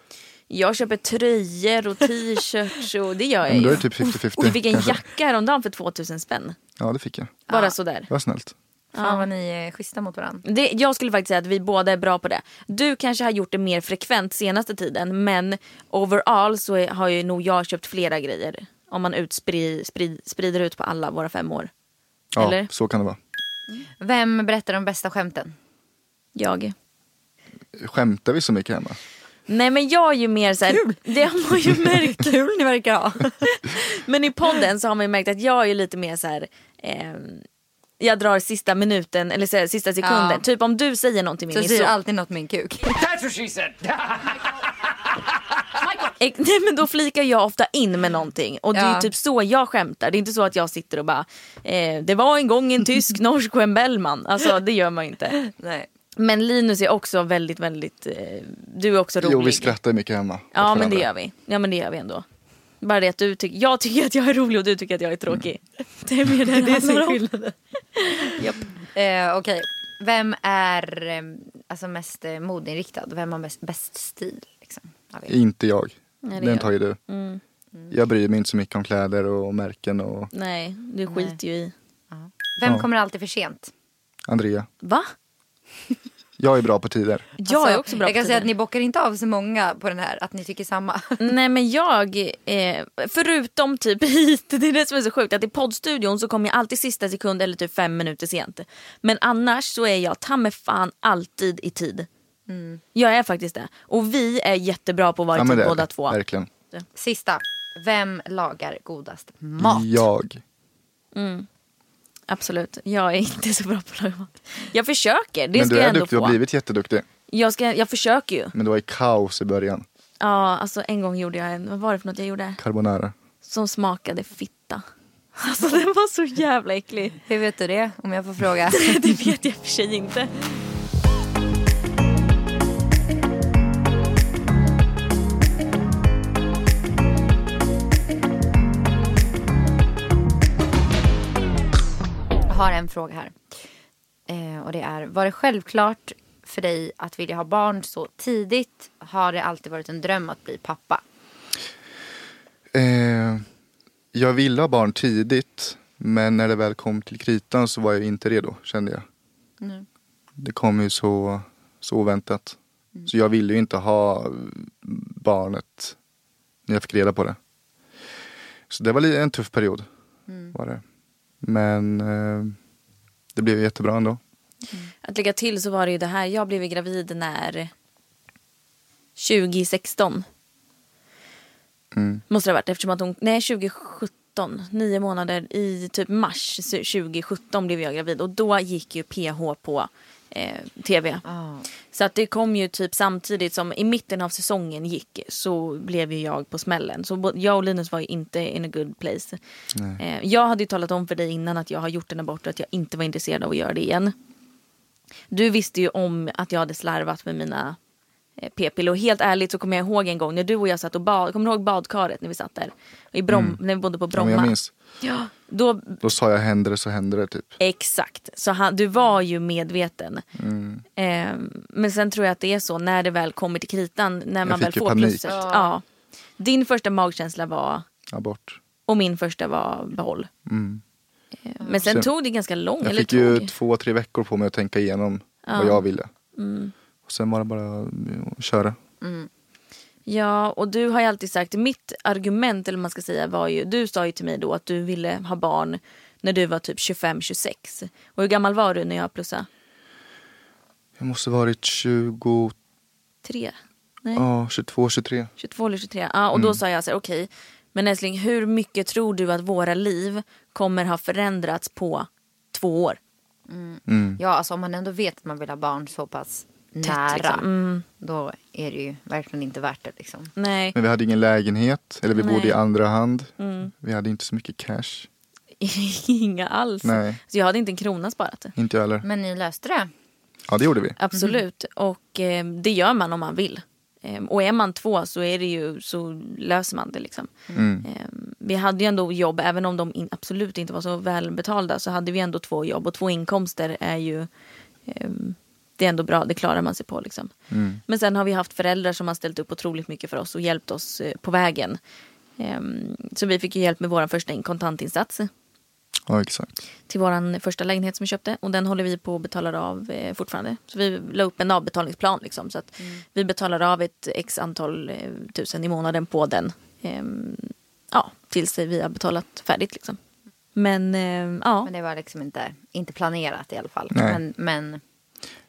Speaker 1: Jag köper tröjor och t-shirts och det gör
Speaker 2: Ja,
Speaker 1: jag
Speaker 2: men då är
Speaker 1: ju.
Speaker 2: det typ 50-50.
Speaker 1: Jag fick en
Speaker 2: kanske.
Speaker 1: jacka häromdagen för 2000 spänn.
Speaker 2: Ja det fick jag.
Speaker 1: Bara sådär.
Speaker 2: Det var snällt.
Speaker 3: Fan vad ni är schyssta mot varandra.
Speaker 1: Det, jag skulle faktiskt säga att vi båda är bra på det. Du kanske har gjort det mer frekvent senaste tiden men overall så är, har ju nog jag köpt flera grejer Om man utspri, sprid, sprider ut på alla våra fem år.
Speaker 2: Ja,
Speaker 1: Eller?
Speaker 2: så kan det vara.
Speaker 3: Vem berättar de bästa skämten?
Speaker 1: Jag.
Speaker 2: Skämtar vi så mycket hemma?
Speaker 1: Nej men jag är ju mer såhär, det har man ju märkt. *laughs* Kul ni verkar ha. men i podden så har man ju märkt att jag är ju lite mer såhär, eh, jag drar sista minuten eller så här, sista sekunden.
Speaker 3: Ja.
Speaker 1: Typ om du säger någonting
Speaker 3: Så
Speaker 1: Mimmi.
Speaker 3: säger alltid något med en kuk.
Speaker 1: Eh, *laughs* Nej men då flikar jag ofta in med någonting och det är
Speaker 3: Ja.
Speaker 1: ju typ så jag skämtar. Det är inte så att jag sitter och bara, eh, det var en gång en *laughs* tysk, norsk och en Bellman. Alltså det gör man ju inte.
Speaker 3: *laughs* Nej.
Speaker 1: Men Linus är också väldigt, väldigt, eh, du är också rolig.
Speaker 2: Jo, vi skrattar mycket hemma. åt
Speaker 1: Ja men det
Speaker 2: varandra.
Speaker 1: gör vi. Ja men det gör vi ändå. Bara det att du tycker, jag tycker att jag är rolig och du tycker att jag är tråkig. Det är mer Mm. *laughs* det det handlar om.
Speaker 3: Eh, Okej, vem är eh, alltså mest eh, modinriktad? Vem har bäst, bäst stil? Liksom, av er?
Speaker 2: Inte jag.
Speaker 1: Nej, det
Speaker 2: Den
Speaker 1: gör- Mm,
Speaker 2: tar ju du. Jag bryr mig inte så mycket om kläder och märken och
Speaker 1: Nej, du skiter ju i.
Speaker 3: Vem
Speaker 2: Ja.
Speaker 3: kommer alltid för sent?
Speaker 2: Andrea.
Speaker 1: Va?
Speaker 2: Jag är bra på tider.
Speaker 1: Jag är
Speaker 3: Alltså,
Speaker 1: också bra
Speaker 3: Jag
Speaker 1: på
Speaker 3: kan säga att
Speaker 1: tider.
Speaker 3: ni bockar inte av så många på den här, att ni tycker samma. *laughs*
Speaker 1: Nej men jag, eh, förutom typ *laughs* hit, det är det som är så sjukt att i poddstudion så kommer jag alltid sista sekund eller typ fem minuter sent. Men annars så är jag ta mig fan alltid i tid. Jag är faktiskt det. Och vi är jättebra på att vara i
Speaker 2: men
Speaker 1: tid
Speaker 2: det är
Speaker 1: typ båda
Speaker 2: det.
Speaker 1: två.
Speaker 2: Verkligen.
Speaker 3: Sista, vem lagar godast mat?
Speaker 2: Jag.
Speaker 1: Absolut, jag är *laughs* inte så bra på att laga mat. Jag försöker, det
Speaker 2: Men
Speaker 1: ska
Speaker 2: du
Speaker 1: jag
Speaker 2: är
Speaker 1: ändå
Speaker 2: duktig, du
Speaker 1: få.
Speaker 2: har blivit jätteduktig.
Speaker 1: Jag, ska, jag försöker ju.
Speaker 2: Men det var i kaos i början.
Speaker 1: Ja, alltså en gång gjorde jag en, vad var det för något jag gjorde?
Speaker 2: Carbonara.
Speaker 1: Som smakade fitta. *laughs* Alltså den var så jävla äcklig.
Speaker 3: Hur vet du det? Om jag får fråga.
Speaker 1: *laughs* Det vet jag i och för sig inte.
Speaker 3: *laughs* Jag har en fråga här. Eh, och det är, var det självklart för dig att vilja ha barn så tidigt? Har det alltid varit en dröm att bli pappa?
Speaker 2: Eh, jag ville ha barn tidigt. Men när det väl kom till kritan så var jag inte redo, kände jag. Det kom ju så, så oväntat.
Speaker 1: Mm.
Speaker 2: Så jag ville ju inte ha barnet när jag fick reda på det. Så det var li- en tuff period.
Speaker 1: Mm.
Speaker 2: Var det. Men eh, det blev jättebra ändå.
Speaker 1: Att lägga till så var det ju det här, jag blev ju gravid när 2016.
Speaker 2: Mm.
Speaker 1: Måste det ha varit eftersom att hon, nej 2017, nio månader i typ mars 2017 blev jag gravid och då gick ju PH på eh, TV. Så att det kom ju typ samtidigt som i mitten av säsongen gick så blev ju jag på smällen. Så bo- jag och Linus var ju inte in a good place. Eh, jag hade ju talat om för dig innan att jag har gjort en abort och att jag inte var intresserad av att göra det igen. Du visste ju om att jag hade slarvat med mina eh, p-piller. Och helt ärligt så kommer jag ihåg en gång när du och jag satt och bad. Kommer du ihåg badkaret när vi satt där? I Brom, När vi bodde på
Speaker 2: Mm. Ja,
Speaker 1: Bromma.
Speaker 2: men jag minns.
Speaker 1: Ja, då,
Speaker 2: Då sa jag händer det så händer det typ.
Speaker 1: exakt. Så han, du var ju medveten.
Speaker 2: Mm.
Speaker 1: Eh, men sen tror jag att det är så när det väl kommer till kritan. När man
Speaker 2: fick
Speaker 1: väl
Speaker 2: ju
Speaker 1: får
Speaker 2: panik.
Speaker 1: plusset. Ja. Din första magkänsla var
Speaker 2: Abort. Mm.
Speaker 1: och min första var behåll. Eh, Men sen
Speaker 2: Sen-
Speaker 1: tog det ganska lång.
Speaker 2: Jag
Speaker 1: eller
Speaker 2: fick ju
Speaker 1: tog.
Speaker 2: två, tre veckor på mig att tänka igenom vad jag ville.
Speaker 1: Mm.
Speaker 2: Och sen var det bara att köra.
Speaker 1: Ja, och du har ju alltid sagt, mitt argument eller vad man ska säga var ju, du sa ju till mig då att du ville ha barn när du var typ 25-26. Och hur gammal var du när jag plussade?
Speaker 2: Jag måste varit 20,
Speaker 1: Tre? Nej,
Speaker 2: ja 22, 23.
Speaker 1: 22 eller 23. Ja, och då sa jag så här, okej, men älskling hur mycket tror du att våra liv kommer ha förändrats på två år?
Speaker 3: Ja, alltså om man ändå vet att man vill ha barn så pass nära.
Speaker 1: liksom.
Speaker 3: Då är det ju verkligen inte värt det liksom.
Speaker 1: Nej, *laughs*
Speaker 2: Men vi hade ingen lägenhet, eller vi bodde
Speaker 1: Nej. Mm.
Speaker 2: i andra hand. Vi hade inte så mycket cash.
Speaker 1: inga alls.
Speaker 2: Nej.
Speaker 1: Så jag hade inte en krona sparat.
Speaker 2: Inte jag heller.
Speaker 3: Men ni löste det.
Speaker 2: Ja, det gjorde vi.
Speaker 1: Absolut, och eh, det gör man om man vill. Eh, och är man två så, är det ju, så löser man det. Liksom. Eh, vi hade ju ändå jobb, även om de in, absolut inte var så välbetalda så hade vi ändå två jobb och två inkomster är ju eh, det är ändå bra, det klarar man sig på. Liksom. Men sen har vi haft föräldrar som har ställt upp otroligt mycket för oss och hjälpt oss eh, på vägen. Eh, så vi fick ju hjälp med vår första in- kontantinsats
Speaker 2: Ja, exakt.
Speaker 1: till vår första lägenhet som vi köpte och den håller vi på att betala av eh, fortfarande. Så vi la upp en avbetalningsplan liksom, så att vi betalar av ett x antal eh, tusen i månaden på den. Ehm, ja, tills vi har betalat färdigt. Liksom. Men eh, ja,
Speaker 3: Men det var liksom inte, inte planerat i alla fall.
Speaker 2: Nej.
Speaker 3: Men, men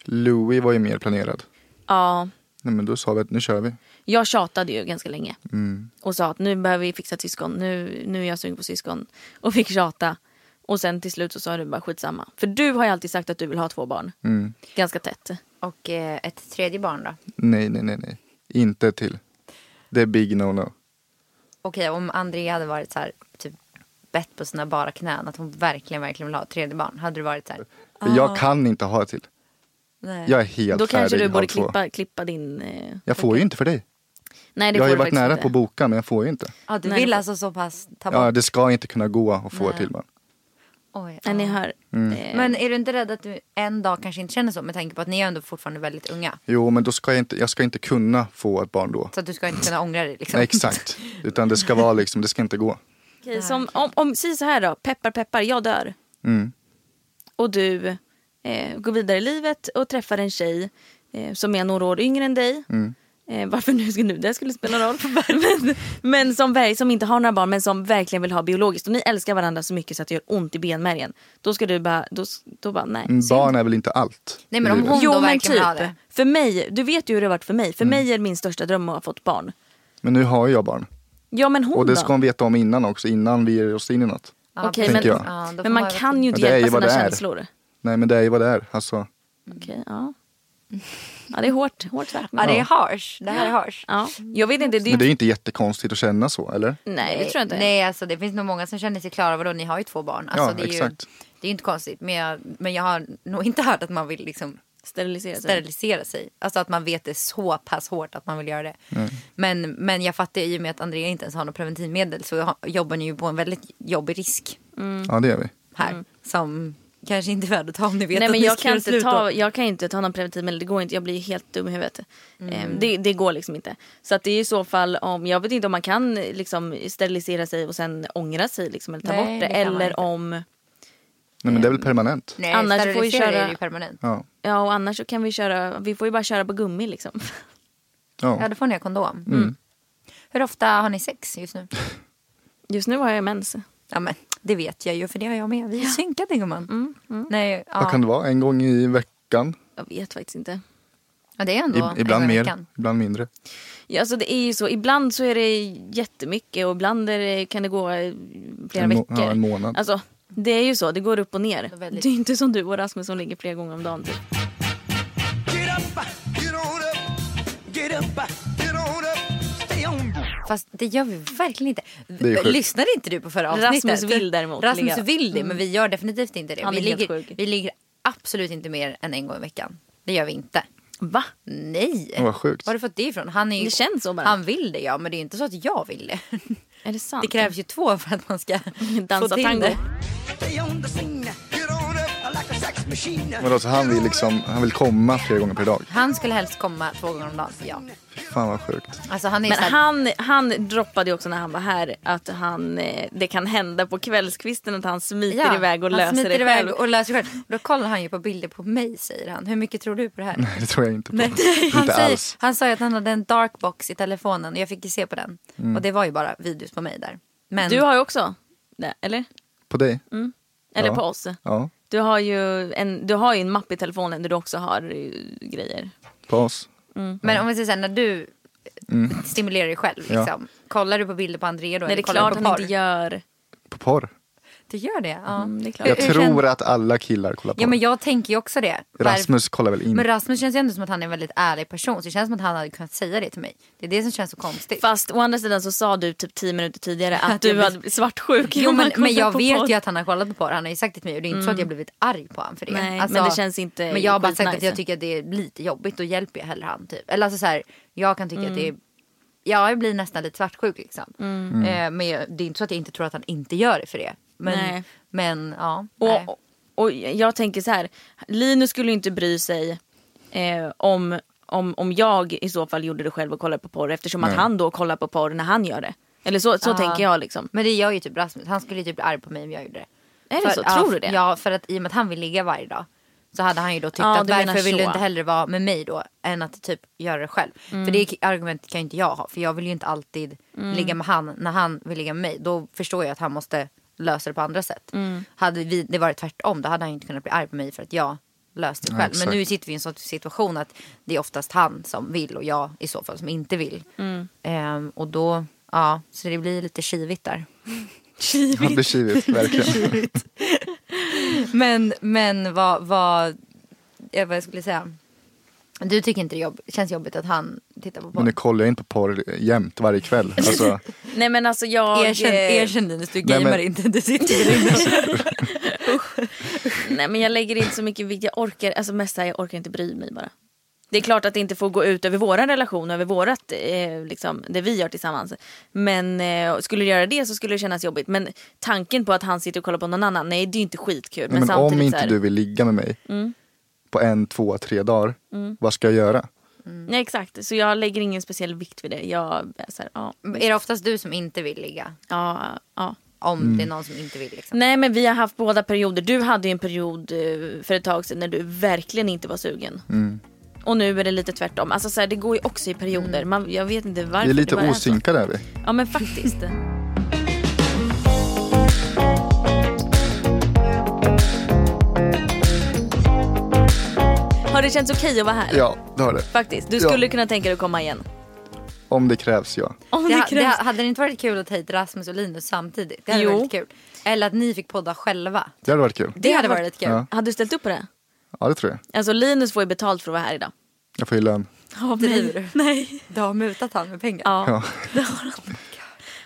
Speaker 2: Louis var ju mer planerad.
Speaker 1: ja,
Speaker 2: Nej, men då sa vi att nu kör vi.
Speaker 1: jag tjatade ju ganska länge
Speaker 2: Mm.
Speaker 1: och sa att nu behöver vi fixa syskon, nu, nu är jag sugen på syskon. Och fick tjata. Och sen till slut så sa du bara skitsamma. För du har ju alltid sagt att du vill ha två barn.
Speaker 2: Mm.
Speaker 1: Ganska tätt.
Speaker 3: och eh, ett tredje barn då?
Speaker 2: Nej, nej, nej, nej. Inte till. Det är big no no.
Speaker 3: Okej, om Andrea hade varit så här, typ bett på sina bara knän att hon verkligen, verkligen vill ha ett tredje barn. Hade du varit så här?
Speaker 2: För Jag kan inte ha till.
Speaker 3: Nej.
Speaker 2: Jag är helt
Speaker 1: Ah. Då
Speaker 2: färdig.
Speaker 1: kanske du
Speaker 2: halv
Speaker 1: borde
Speaker 2: två.
Speaker 1: klippa, klippa din... Eh,
Speaker 2: Jag får ju inte för dig.
Speaker 1: nej, det
Speaker 2: Jag har
Speaker 1: får
Speaker 2: ju
Speaker 1: du
Speaker 2: varit
Speaker 1: faktiskt
Speaker 2: nära
Speaker 1: inte.
Speaker 2: på att boka men jag får ju inte.
Speaker 3: Ja, du
Speaker 1: Nej,
Speaker 3: vill
Speaker 1: det-
Speaker 3: alltså så pass ta bort?
Speaker 2: Ja, det ska inte kunna gå att få
Speaker 3: Nej.
Speaker 2: till barn.
Speaker 3: Oj,
Speaker 1: Nej, ni
Speaker 3: ja.
Speaker 1: hör.
Speaker 2: Mm.
Speaker 1: Eh,
Speaker 3: Men är du inte rädd att du en dag kanske inte känner så med tanke på att ni är ändå fortfarande väldigt unga?
Speaker 2: Jo, men då ska jag inte, jag ska inte kunna få ett barn då.
Speaker 3: Så att du ska inte kunna ångra dig liksom.
Speaker 2: Nej, exakt. Utan det ska vara liksom, det ska inte gå.
Speaker 1: Okej, som, om, om, säg så här då, peppar peppar, jag dör.
Speaker 2: Mm.
Speaker 1: Och du eh, går vidare i livet och träffar en tjej eh, som är några år yngre än dig.
Speaker 2: Mm.
Speaker 1: Eh, varför nu ska nu det skulle spela roll. *laughs* men men som, verk- som inte har några barn men som verkligen vill ha biologiskt. Och ni älskar varandra så mycket så att det gör ont i benmärgen. Då ska du bara, då, s- då bara nej.
Speaker 2: Mm,
Speaker 1: synd.
Speaker 2: Barn är väl inte allt?
Speaker 3: Nej, men om
Speaker 2: i livet.
Speaker 3: hon- då
Speaker 1: Jo men
Speaker 3: verkligen
Speaker 1: typ,
Speaker 3: ha det.
Speaker 1: för mig, du vet ju hur det har varit för mig.
Speaker 2: Mm.
Speaker 1: För mig är min största dröm att ha fått barn.
Speaker 2: men nu har ju jag barn.
Speaker 1: Ja men hon
Speaker 2: Och det
Speaker 1: då?
Speaker 2: ska hon veta om innan också, innan vi ger oss in i något.
Speaker 3: Ja,
Speaker 1: Okej,
Speaker 3: precis.
Speaker 2: tänker jag.
Speaker 3: Ja, då får
Speaker 1: Men man
Speaker 3: vara-
Speaker 1: kan ju inte
Speaker 2: Det är ju
Speaker 1: hjälpa
Speaker 2: vad
Speaker 1: sina
Speaker 2: det är.
Speaker 1: känslor.
Speaker 3: Mm.
Speaker 2: Nej, men det är ju vad det är. Alltså,
Speaker 1: Okej, ja. *laughs* Ja, det är hårt. Hårt sagt.
Speaker 3: Ja,
Speaker 1: Men...
Speaker 3: det är harsh. Det här är harsh.
Speaker 1: Ja. Jag vet inte. Det är...
Speaker 2: men det är ju inte jättekonstigt att känna så, eller?
Speaker 1: Nej, det tror jag inte.
Speaker 3: Nej, alltså det finns nog många som känner sig klara. Vadå, ni har ju två barn. Alltså,
Speaker 2: Ja,
Speaker 3: det är
Speaker 2: exakt.
Speaker 3: Ju, det är ju inte konstigt. Men jag, men jag har nog inte hört att man vill liksom
Speaker 1: Alltså- Sterilisera sig.
Speaker 3: sterilisera sig. Alltså att man vet det så pass hårt att man vill göra det.
Speaker 2: Mm.
Speaker 3: Men, men jag fattar ju, i och med att Andrea inte ens har något preventivmedel så har- jobbar ni ju på en väldigt jobbig risk
Speaker 2: Ja, det gör vi.
Speaker 3: här. Som kanske inte är värd att ta om ni
Speaker 1: Mm.
Speaker 3: vet
Speaker 1: Nej
Speaker 3: att
Speaker 1: men
Speaker 3: ni
Speaker 1: jag
Speaker 3: skulle
Speaker 1: kan, inte
Speaker 3: sluta.
Speaker 1: ta, jag kan inte ta någon preventivmedel, det går inte. Jag blir helt dum i huvudet.
Speaker 3: Mm.
Speaker 1: Ehm, Det, det går liksom inte. Så att det är i så fall om, jag vet inte om man kan liksom sterilisera sig och sen ångra sig liksom, eller ta
Speaker 3: Nej,
Speaker 1: bort det.
Speaker 3: det kan man inte.
Speaker 1: Eller om,
Speaker 2: Nej, men det är väl permanent?
Speaker 3: Nej,
Speaker 1: Annars får vi
Speaker 3: sterilisera
Speaker 1: köra-
Speaker 3: är det ju permanent.
Speaker 2: Ja.
Speaker 1: ja och annars så kan vi köra, vi får ju bara köra på gummi liksom. *laughs*
Speaker 3: Ja,
Speaker 2: ja.
Speaker 3: då får ni ha kondom.
Speaker 1: Mm.
Speaker 3: Mm. Hur ofta har ni sex just nu?
Speaker 1: Just nu har jag mens.
Speaker 3: Ja, men det vet jag ju för det har jag med. Vi är synkade gumman.
Speaker 1: Mm,
Speaker 3: Nej, ja.
Speaker 2: Vad kan det vara? En gång i veckan?
Speaker 1: Jag vet faktiskt inte.
Speaker 3: ja, det är ändå en
Speaker 2: I, ibland
Speaker 3: gång i
Speaker 2: mer,
Speaker 3: veckan.
Speaker 2: ibland mindre.
Speaker 1: Ja, alltså det är ju så. Ibland så är det jättemycket och ibland är det, kan det gå eh, flera
Speaker 2: En må-
Speaker 1: veckor.
Speaker 2: ja, en månad.
Speaker 1: Alltså, det är ju så. Det går upp och ner.
Speaker 3: väldigt.
Speaker 1: Det är inte som du och Rasmus som ligger flera gånger om dagen. Typ.
Speaker 4: Get up, get on up, get up, get on up, stay on.
Speaker 3: Fast det gör vi verkligen inte.
Speaker 2: är sjukt.
Speaker 3: Lyssnade inte du på förra avsnittet?
Speaker 1: Rasmus vill däremot
Speaker 3: Rasmus
Speaker 1: ligga.
Speaker 3: vill det, men vi gör definitivt inte det.
Speaker 1: Han
Speaker 3: vi,
Speaker 1: är helt
Speaker 3: ligger,
Speaker 1: sjuk.
Speaker 3: vi ligger absolut inte mer än en gång i veckan. Det gör vi inte.
Speaker 1: Va?
Speaker 3: Nej.
Speaker 2: Åh, vad sjukt.
Speaker 3: Var har du fått det ifrån? Han är ju,
Speaker 1: Det känns så bara.
Speaker 3: Han vill det ja, men det är inte så att jag vill det. *laughs*
Speaker 1: Är det sant?
Speaker 3: Det krävs ju två för att man ska
Speaker 1: Dansa
Speaker 3: få till
Speaker 1: tango.
Speaker 3: det.
Speaker 4: Stay on the scene, get on up like a sex machine.
Speaker 2: Men alltså, han vill liksom, han vill komma flera gånger per dag.
Speaker 3: Han skulle helst komma två gånger om dagen. Ja.
Speaker 2: Fy fan vad sjukt.
Speaker 3: Alltså, han är ju
Speaker 1: Men
Speaker 3: så här,
Speaker 1: han, han droppade ju också när han var här att han, eh, det kan hända på kvällskvisten att han smiter
Speaker 3: Ja,
Speaker 1: iväg och
Speaker 3: han
Speaker 1: löser
Speaker 3: smiter
Speaker 1: det
Speaker 3: iväg
Speaker 1: själv.
Speaker 3: Och löser det själv. Då kollar han ju på bilder på mig säger han. Hur mycket tror du på det här?
Speaker 2: Nej, *laughs* det tror jag inte på.
Speaker 3: Nej.
Speaker 2: Inte
Speaker 3: Han, säger,
Speaker 2: alls.
Speaker 3: han sa ju att han hade en dark box i telefonen och jag fick ju se på den.
Speaker 2: Mm.
Speaker 3: Och det var ju bara videos på mig där. Men
Speaker 1: Du har ju också det, eller?
Speaker 2: På dig?
Speaker 3: Mm.
Speaker 1: Eller
Speaker 2: Ja.
Speaker 1: på oss.
Speaker 2: Ja,
Speaker 1: Du har, ju en, du har ju en mapp i telefonen där du också har eh, grejer.
Speaker 2: på oss. Mm.
Speaker 3: men om vi säger så här, när du stimulerar dig själv
Speaker 2: Ja.
Speaker 3: liksom. Kollar du på bilder på André då?
Speaker 1: Nej,
Speaker 3: eller
Speaker 1: det är
Speaker 3: kollar du
Speaker 1: klart
Speaker 3: på
Speaker 1: han
Speaker 3: porr?
Speaker 1: inte gör. Mm,
Speaker 2: På porr.
Speaker 3: Du gör det? Ja.
Speaker 1: Det är klart.
Speaker 2: Jag
Speaker 3: hur
Speaker 2: tror
Speaker 3: känns-
Speaker 2: att alla killar kollar på.
Speaker 3: ja men jag tänker ju också det. Varför-
Speaker 2: Rasmus kollar väl
Speaker 3: Men
Speaker 2: in.
Speaker 3: Rasmus känns ju ändå som att han är en väldigt ärlig person. Så det känns som att han hade kunnat säga det till mig. Det är det som känns så konstigt.
Speaker 1: Fast å andra sidan så sa du typ 10 minuter tidigare att
Speaker 3: Att jag
Speaker 1: du
Speaker 3: blir-
Speaker 1: hade blivit svartsjuk.
Speaker 3: Jo men,
Speaker 1: Man
Speaker 3: men jag
Speaker 1: kollar på
Speaker 3: vet
Speaker 1: podd. Mm.
Speaker 3: ju att han har kollat på porr. Han har ju sagt det till mig och det är inte så att jag blivit arg på honom för det. Alltså,
Speaker 1: Nej, men det känns inte
Speaker 3: Men jag har bara sagt
Speaker 1: skitnice.
Speaker 3: att jag tycker att det är lite jobbigt. Då hjälper jag hellre han typ. Eller alltså så här, jag kan tycka att
Speaker 1: Mm.
Speaker 3: det är ja, jag blir nästan lite svartsjuk liksom. Eh, men jag, det är inte så att jag inte tror att han inte gör det för det. Men,
Speaker 1: Nej.
Speaker 3: men ja. nej.
Speaker 1: Och, och jag tänker så här, Linus skulle ju inte bry sig eh, om, om, om jag i så fall gjorde det själv och kollade på porr eftersom att han då kollar på porr när han gör det. Eller så, så tänker jag liksom.
Speaker 3: Men det gör ju typ Rasmus. Han skulle ju typ bli arg på mig om jag gjorde det.
Speaker 1: Är det så?
Speaker 3: ja,
Speaker 1: Tror du det?
Speaker 3: Ja, för att i och med att han vill ligga varje dag. så hade han ju då tyckt
Speaker 1: Ja,
Speaker 3: att
Speaker 1: du menar
Speaker 3: varför vill
Speaker 1: så.
Speaker 3: du inte hellre vara med mig då än att typ göra det själv. För det argumentet kan ju inte jag ha för jag vill ju inte alltid ligga med han när han vill ligga med mig. Då förstår jag att han måste lösa det på andra sätt. Hade vi, det varit tvärtom då hade han ju inte kunnat bli arg på mig för att jag löste det
Speaker 2: Ja,
Speaker 3: själv. Men nu
Speaker 2: exakt.
Speaker 3: sitter vi i en sån situation att det är oftast han som vill och jag i så fall som inte vill. Ehm, och då, ja, så det blir lite kivigt där.
Speaker 2: Ja, det blir
Speaker 3: *laughs*
Speaker 2: kivigt, verkligen.
Speaker 3: Men, men vad, vad, jag, vad jag skulle säga. Du tycker inte det jobb, känns jobbigt att han tittar på
Speaker 2: Men
Speaker 3: porr?
Speaker 2: nu kollar jag inte på porr jämt varje
Speaker 3: *laughs*
Speaker 2: kväll. Alltså,
Speaker 1: Nej men alltså jag...
Speaker 3: Erkänn,
Speaker 1: eh,
Speaker 3: erkänn Linus, du
Speaker 2: Nej,
Speaker 3: gamer
Speaker 2: men-
Speaker 3: inte. Du sitter i *laughs* rummet.
Speaker 1: Nej men jag lägger inte så mycket vikt. Jag orkar, alltså mest så här, jag orkar inte bry mig bara. Det är klart att det inte får gå ut över våran relation, över vårat, eh, liksom, det vi gör tillsammans. Men eh, skulle det göra det så skulle det kännas jobbigt. Men tanken på att han sitter och kollar på någon annan, nej det är inte skitkul.
Speaker 2: nej, men om
Speaker 1: samtidigt så
Speaker 2: inte
Speaker 1: här,
Speaker 2: du vill ligga med mig
Speaker 3: Mm.
Speaker 2: på en, två, tre dagar, vad ska jag göra?
Speaker 1: Nej exakt, så jag lägger ingen speciell vikt vid det. Jag, är så här, ja,
Speaker 3: Är det oftast du som inte vill ligga?
Speaker 1: ja, ja.
Speaker 3: Om
Speaker 2: Mm.
Speaker 3: det är någon som inte vill liksom.
Speaker 1: Nej men vi har haft båda perioder. Du hade ju en period eh, för ett tag sedan när du verkligen inte var sugen.
Speaker 2: Mm.
Speaker 1: Och nu är det lite tvärtom. Alltså så här, det går ju också i perioder. Man, jag vet inte varför
Speaker 2: Vi är lite
Speaker 1: bara så.
Speaker 2: osynkade är vi.
Speaker 1: Ja men faktiskt. Har det känts okej att vara här?
Speaker 2: Ja, det har det.
Speaker 1: Faktiskt. Du
Speaker 2: Ja.
Speaker 1: skulle kunna tänka dig att komma igen.
Speaker 2: Om det krävs, ja.
Speaker 1: Om
Speaker 3: Det,
Speaker 1: det
Speaker 3: ha- det,
Speaker 1: krävs.
Speaker 3: ha- hade det inte varit kul att ta hit Rasmus och Linus samtidigt? Det hade
Speaker 1: Jo.
Speaker 3: varit kul. Eller att ni fick podda själva.
Speaker 2: Det hade varit kul.
Speaker 3: Det, hade varit lite kul.
Speaker 2: Ja.
Speaker 1: Hade du ställt upp på det?
Speaker 2: Ja, det tror jag.
Speaker 1: Alltså Linus får ju betalt för att vara här idag. Typ.
Speaker 2: Jag får ju lön.
Speaker 1: Av
Speaker 3: Driver du?
Speaker 1: Nej.
Speaker 3: Du har mutat han med pengar.
Speaker 1: Ja. *laughs*
Speaker 2: Ja.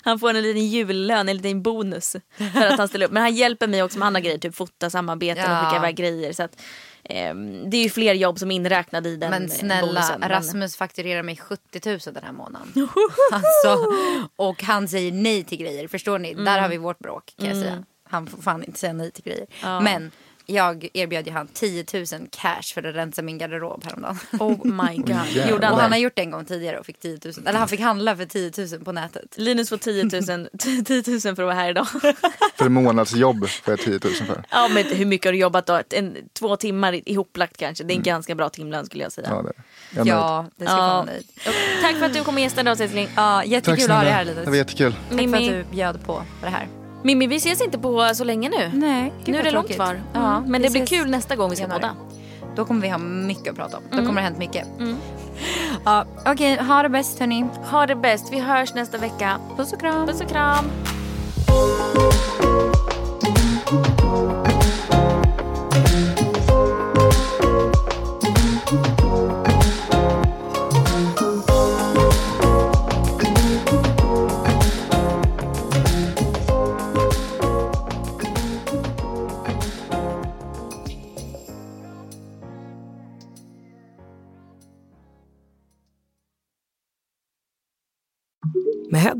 Speaker 1: Han får en liten jullön, en liten bonus för att han ställer upp. Men han hjälper mig också med andra grejer, typ fota samarbeten och
Speaker 3: Ja.
Speaker 1: skicka iväg grejer. Så att, ehm, det är ju fler jobb som är inräknade i den
Speaker 3: Men
Speaker 1: eh,
Speaker 3: snälla,
Speaker 1: bonusen. Men-
Speaker 3: Rasmus fakturerar mig 70 000 den här *laughs* månaden. alltså, och han säger nej till grejer. Förstår ni? Där har vi vårt bråk kan jag säga. Han får fan inte säga nej till grejer. Men jag erbjöd ju han 10 000 cash för att rensa min garderob häromdagen. *laughs*
Speaker 1: Oh my god.
Speaker 2: Jävlar.
Speaker 1: Gjorde han
Speaker 3: Och
Speaker 1: det?
Speaker 3: han har gjort det en gång tidigare och fick 10 000. Eller han fick handla för 10 000 på nätet.
Speaker 1: Linus får 10 *laughs* 000, 10 000 för att vara här idag.
Speaker 2: För en månadsjobb får jag 10 000 för.
Speaker 1: ja, men hur mycket har du jobbat då? Ett- En, två timmar i- ihoplagt kanske. Det är en ganska bra timlön skulle jag säga.
Speaker 2: Ja, det är jag. är nöjd.
Speaker 3: Ja, det ska vara nöjd.
Speaker 1: Tack för att du kom och gästade oss älskling.
Speaker 3: Ja,
Speaker 2: Tack
Speaker 3: jättekul att ha dig
Speaker 2: snälla.
Speaker 3: här
Speaker 2: Det
Speaker 3: Linus.
Speaker 2: var jättekul.
Speaker 3: Tack för att
Speaker 1: Mimmi.
Speaker 3: du bjöd på det här.
Speaker 1: Mimmi, vi ses inte på så länge nu.
Speaker 3: Nej,
Speaker 1: nu är det långt kvar. Ja, men
Speaker 3: vi
Speaker 1: det blir
Speaker 3: ses
Speaker 1: kul Mm. nästa gång vi ska
Speaker 3: januari.
Speaker 1: podda.
Speaker 3: Mm, Då kommer vi ha mycket att prata om. Då kommer det ha hänt mycket. Ja, Okej, ha det bäst hörni.
Speaker 1: Ha det bäst. Vi hörs nästa vecka.
Speaker 3: Puss och kram.
Speaker 1: Puss och kram.
Speaker 5: Med